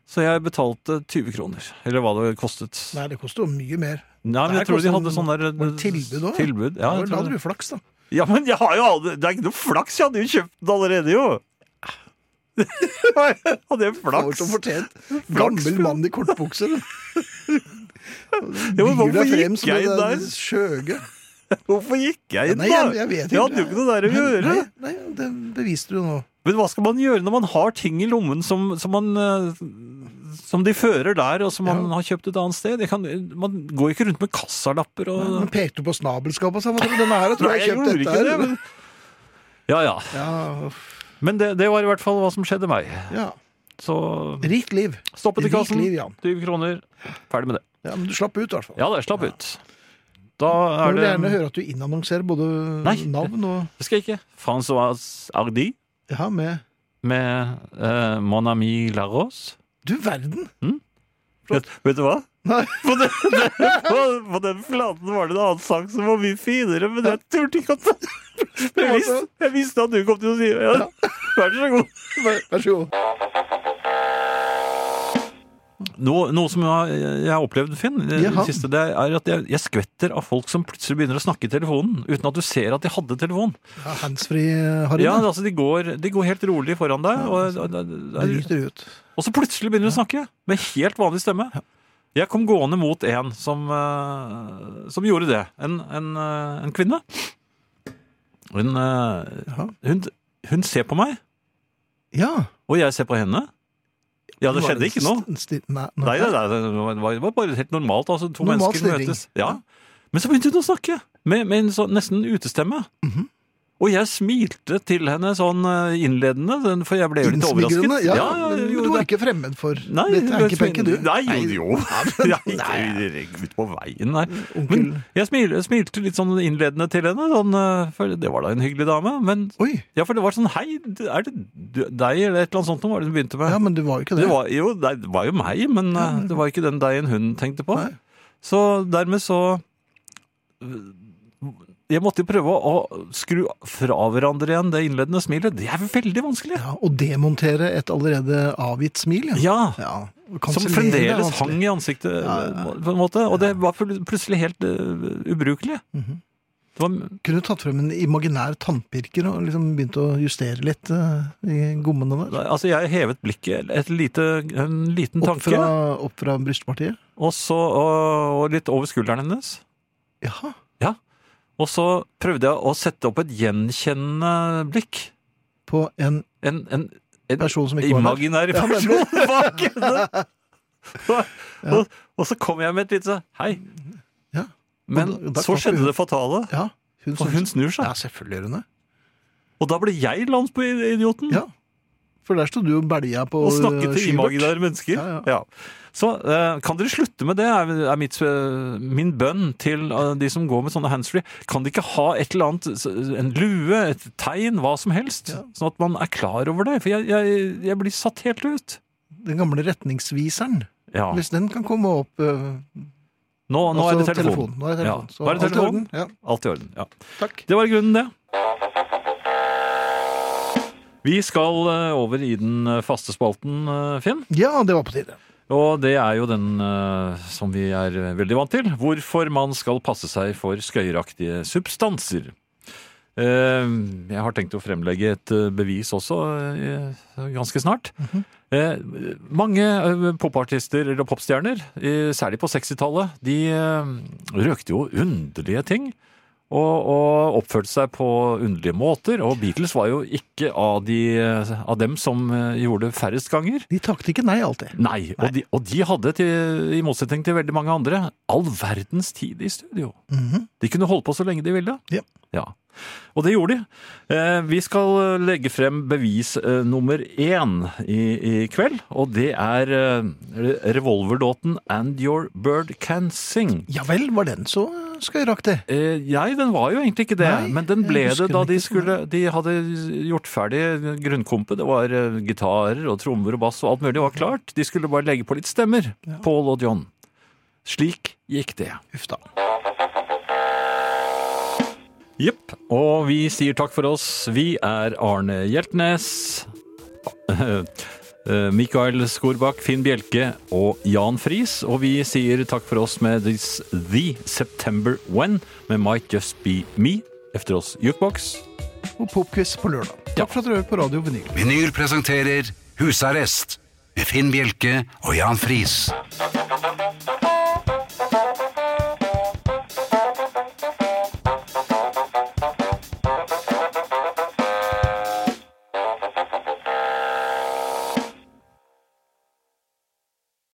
[SPEAKER 3] Så jeg betalte 20 kroner, eller hva det kostet. Nei,
[SPEAKER 2] Nei, det koster jo mye mer.
[SPEAKER 3] men jeg
[SPEAKER 2] det her
[SPEAKER 3] tror de
[SPEAKER 2] kostet
[SPEAKER 3] hadde sånn der
[SPEAKER 2] var det tilbud også, ja?
[SPEAKER 3] Tilbud, ja,
[SPEAKER 2] Da
[SPEAKER 3] jeg
[SPEAKER 2] da
[SPEAKER 3] tror
[SPEAKER 2] hadde
[SPEAKER 3] det.
[SPEAKER 2] du flaks, da.
[SPEAKER 3] ja, men jeg har jo aldri Det er ikke noe flaks! Jeg hadde jo kjøpt den allerede, jo! [laughs] Jeg hadde jo
[SPEAKER 2] Flaks.
[SPEAKER 3] flaks!
[SPEAKER 2] Som fortjent. Gammel mann i kortbukser.
[SPEAKER 3] Ja, men hvorfor
[SPEAKER 2] Byr deg frem
[SPEAKER 3] gikk
[SPEAKER 2] som
[SPEAKER 3] jeg
[SPEAKER 2] en,
[SPEAKER 3] der?
[SPEAKER 2] eh, Skjøge.
[SPEAKER 3] Hvorfor gikk jeg inn, da?
[SPEAKER 2] Nei, jeg, jeg vet ikke.
[SPEAKER 3] hadde jo ikke noe der å
[SPEAKER 2] Men-
[SPEAKER 3] gjøre.
[SPEAKER 2] Nei, nei, det beviste du nå.
[SPEAKER 3] Men hva skal man gjøre når man har ting i lommen som, som, man, eh, som de fører der, og som man
[SPEAKER 2] Ja.
[SPEAKER 3] har kjøpt et annet sted? Jeg kan, man går ikke rundt med kassalapper og
[SPEAKER 2] Men pekte du på snabelskapet og sa hva tror du denne her? Jeg tror
[SPEAKER 3] Nei,
[SPEAKER 2] jeg kjøpte dette her.
[SPEAKER 3] men... Ja, ja.
[SPEAKER 2] Ja,
[SPEAKER 3] Men det, det var i hvert fall hva som skjedde meg.
[SPEAKER 2] ja.
[SPEAKER 3] Så
[SPEAKER 2] Rikt liv.
[SPEAKER 3] stoppet i
[SPEAKER 2] Rikt
[SPEAKER 3] kassen.
[SPEAKER 2] liv, ja.
[SPEAKER 3] 20 kroner. Ferdig med det.
[SPEAKER 2] ja. Men du slapp ut, i hvert fall.
[SPEAKER 3] Ja, det slapp ut. Da
[SPEAKER 2] Jeg
[SPEAKER 3] er
[SPEAKER 2] vil
[SPEAKER 3] det
[SPEAKER 2] gjerne høre at du innannonserer både
[SPEAKER 3] Nei.
[SPEAKER 2] navn og
[SPEAKER 3] Det skal jeg ikke. Francois Ardi
[SPEAKER 2] Ja, med
[SPEAKER 3] med eh, Mon ami Larose.
[SPEAKER 2] Du verden!
[SPEAKER 3] Vet, vet du hva?
[SPEAKER 2] Nei.
[SPEAKER 3] [laughs] På den, på, på den flaten var det en annen sang som var mye finere, men jeg turte ikke at jeg visste, jeg visste at du kom til å si det. Ja. Vær så god.
[SPEAKER 2] Vær, vær så god.
[SPEAKER 3] Noe, noe som jeg, jeg har opplevd, Finn, i
[SPEAKER 2] Jaha.
[SPEAKER 3] det siste, det er at jeg, jeg skvetter av folk som plutselig begynner å snakke i telefonen, uten at du ser at de hadde telefon.
[SPEAKER 2] Ja, Handsfree, Harry.
[SPEAKER 3] Ja,
[SPEAKER 2] da.
[SPEAKER 3] altså, de går, de går helt rolig foran deg, og, og,
[SPEAKER 2] Det
[SPEAKER 3] og,
[SPEAKER 2] ryter ut.
[SPEAKER 3] og så plutselig begynner de å snakke med helt vanlig stemme. Jeg kom gående mot en som, eh, som gjorde det. En, en, eh, en kvinne. Hun, eh,
[SPEAKER 2] Jaha.
[SPEAKER 3] hun, hun ser på meg,
[SPEAKER 2] Ja.
[SPEAKER 3] og jeg ser på henne. Ja, det
[SPEAKER 2] Var
[SPEAKER 3] skjedde
[SPEAKER 2] en
[SPEAKER 3] ikke noe.
[SPEAKER 2] st- en sti- Nei, nei.
[SPEAKER 3] Nei, nei, nei, det var- det var bare helt normalt. Altså, to
[SPEAKER 2] Normal
[SPEAKER 3] mennesker
[SPEAKER 2] stirring.
[SPEAKER 3] møtes. Ja. Men så begynte hun å snakke, med, med en sånn, nesten utestemme.
[SPEAKER 2] Mhm.
[SPEAKER 3] Og jeg smilte til henne sånn eh, innledende, den- for jeg ble jo litt
[SPEAKER 2] Innsmigrende.
[SPEAKER 3] overrasket.
[SPEAKER 2] Ja,
[SPEAKER 3] jeg
[SPEAKER 2] men
[SPEAKER 3] gjorde
[SPEAKER 2] du var
[SPEAKER 3] det.
[SPEAKER 2] ikke fremmed for
[SPEAKER 3] Nei,
[SPEAKER 2] dette tenkepenket, du.
[SPEAKER 3] Nei,
[SPEAKER 2] [laughs]
[SPEAKER 3] jo, jo. [laughs] Nei,
[SPEAKER 2] Nei.
[SPEAKER 3] ikke ut på veien, nei.
[SPEAKER 2] Onkel
[SPEAKER 3] Men jeg smilte, smilte litt sånn innledende til henne, sånn, eh, for det var da en hyggelig dame. Men
[SPEAKER 2] Oi.
[SPEAKER 3] ja, for det var sånn hei, er det du- deg eller et eller annet sånt hun var det hun begynte med?
[SPEAKER 2] Ja, men det var jo ikke det.
[SPEAKER 3] Det var, jo, det var jo meg, men eh, det var ikke den deigen hun tenkte på.
[SPEAKER 2] Nei.
[SPEAKER 3] Så dermed så eh, Jeg måtte jo prøve å skru fra hverandre igjen det innledende smilet. Det er veldig vanskelig.
[SPEAKER 2] Ja, Å demontere et allerede avgitt smil, ja.
[SPEAKER 3] Ja.
[SPEAKER 2] ja. og
[SPEAKER 3] Som
[SPEAKER 2] kansellere er
[SPEAKER 3] fremdeles
[SPEAKER 2] vanskelig.
[SPEAKER 3] hang i ansiktet,
[SPEAKER 2] Ja, ja, ja.
[SPEAKER 3] på en måte. Og det var pl- plutselig helt eh, ubrukelig.
[SPEAKER 2] Mhm.
[SPEAKER 3] Det var
[SPEAKER 2] Kunne du tatt frem en imaginær tannpirker og liksom begynt å justere litt eh, i gommene der?
[SPEAKER 3] Nei, Altså, jeg hevet blikket et lite, en liten
[SPEAKER 2] Opp
[SPEAKER 3] tanke,
[SPEAKER 2] fra, opp fra brystpartiet?
[SPEAKER 3] og, så, og, og litt over skulderen hennes.
[SPEAKER 2] Jaha.
[SPEAKER 3] Og så prøvde jeg å sette opp et gjenkjennende blikk.
[SPEAKER 2] På en
[SPEAKER 3] En, en, en
[SPEAKER 2] person som ikke var der?
[SPEAKER 3] imaginær
[SPEAKER 2] Ja, nemlig. [laughs]
[SPEAKER 3] person bak henne! Og, og, og så kom jeg med et lite sånn, hei.
[SPEAKER 2] Ja.
[SPEAKER 3] Men
[SPEAKER 2] Og da- da
[SPEAKER 3] så
[SPEAKER 2] klapper
[SPEAKER 3] skjedde
[SPEAKER 2] hun.
[SPEAKER 3] det fatale,
[SPEAKER 2] Ja. Hun
[SPEAKER 3] for hun snur
[SPEAKER 2] Ja,
[SPEAKER 3] seg.
[SPEAKER 2] selvfølgelig gjør hun det.
[SPEAKER 3] Og da ble jeg lands på idioten.
[SPEAKER 2] Ja. For der sto du og belja på
[SPEAKER 3] Og snakke
[SPEAKER 2] eh,
[SPEAKER 3] til
[SPEAKER 2] Skybert.
[SPEAKER 3] imaginære mennesker.
[SPEAKER 2] Ja, ja.
[SPEAKER 3] Så eh, kan dere slutte med det, er, er mitt, eh, min bønn til eh, de som går med sånne handsfree. Kan de ikke ha et eller annet, s- en lue, et tegn, hva som helst? Sånn at man er klar over det. For jeg, jeg, jeg blir satt helt ut.
[SPEAKER 2] Den gamle retningsviseren.
[SPEAKER 3] Ja.
[SPEAKER 2] Hvis den kan komme opp eh,
[SPEAKER 3] Nå, nå er det
[SPEAKER 2] altså,
[SPEAKER 3] telefon.
[SPEAKER 2] Nå er det telefon.
[SPEAKER 3] Ja.
[SPEAKER 2] Så
[SPEAKER 3] Nå er det
[SPEAKER 2] alt i
[SPEAKER 3] telefon.
[SPEAKER 2] orden. Ja.
[SPEAKER 3] Alt i orden. Ja.
[SPEAKER 2] Takk.
[SPEAKER 3] Det var i grunnen det. Vi skal eh, over i den eh, faste spalten, eh, Finn.
[SPEAKER 2] Ja, det var på tide.
[SPEAKER 3] Og det er jo den eh, som vi er veldig vant til. Hvorfor man skal passe seg for skøyeraktige substanser. Eh, Jeg har tenkt å fremlegge et eh, bevis også eh, ganske snart. Eh, Mange eh, popartister eller popstjerner, eh, særlig på 60-tallet, de eh, røkte jo underlige ting. Og, og oppførte seg på underlige måter. Og Beatles var jo ikke av, de, eh, av dem som eh, gjorde det færrest ganger.
[SPEAKER 2] De takket ikke nei alltid.
[SPEAKER 3] Nei, Og, de, og de hadde, til, i motsetning til veldig mange andre, all verdens tid i studio.
[SPEAKER 2] Mhm.
[SPEAKER 3] De kunne holde på så lenge de ville.
[SPEAKER 2] Ja.
[SPEAKER 3] Og det gjorde de. Eh, vi skal legge frem bevis eh, nummer én i, i kveld, og det er eh, re- revolverdåten And Your Bird Can Sing.
[SPEAKER 2] Ja vel, var den så skøyeraktig?
[SPEAKER 3] Eh, nei, den var jo egentlig ikke det,
[SPEAKER 2] Nei,
[SPEAKER 3] men den ble
[SPEAKER 2] jeg husker
[SPEAKER 3] det da
[SPEAKER 2] den
[SPEAKER 3] de,
[SPEAKER 2] ikke så
[SPEAKER 3] skulle, de hadde gjort ferdig grunnkompet. Det var eh, gitarer og trommer og bass og alt mulig. Det var klart. De skulle bare legge på litt stemmer, Paul og John. Slik gikk det.
[SPEAKER 2] Uff da.
[SPEAKER 3] Jepp. Og vi sier takk for oss. Vi er Arne Hjeltnes, [laughs] eh, Mikael Skorbakk, Finn Bjelke og Jan Friis. Og vi sier takk for oss med this, The September When med Might Just Be Me. Efter oss Jukebox.
[SPEAKER 2] Og popquiz på lørdag. Takk
[SPEAKER 3] Ja.
[SPEAKER 2] for at du hører på Radio Vinyl.
[SPEAKER 1] Vinyl presenterer Husarrest med Finn Bjelke og Jan Friis.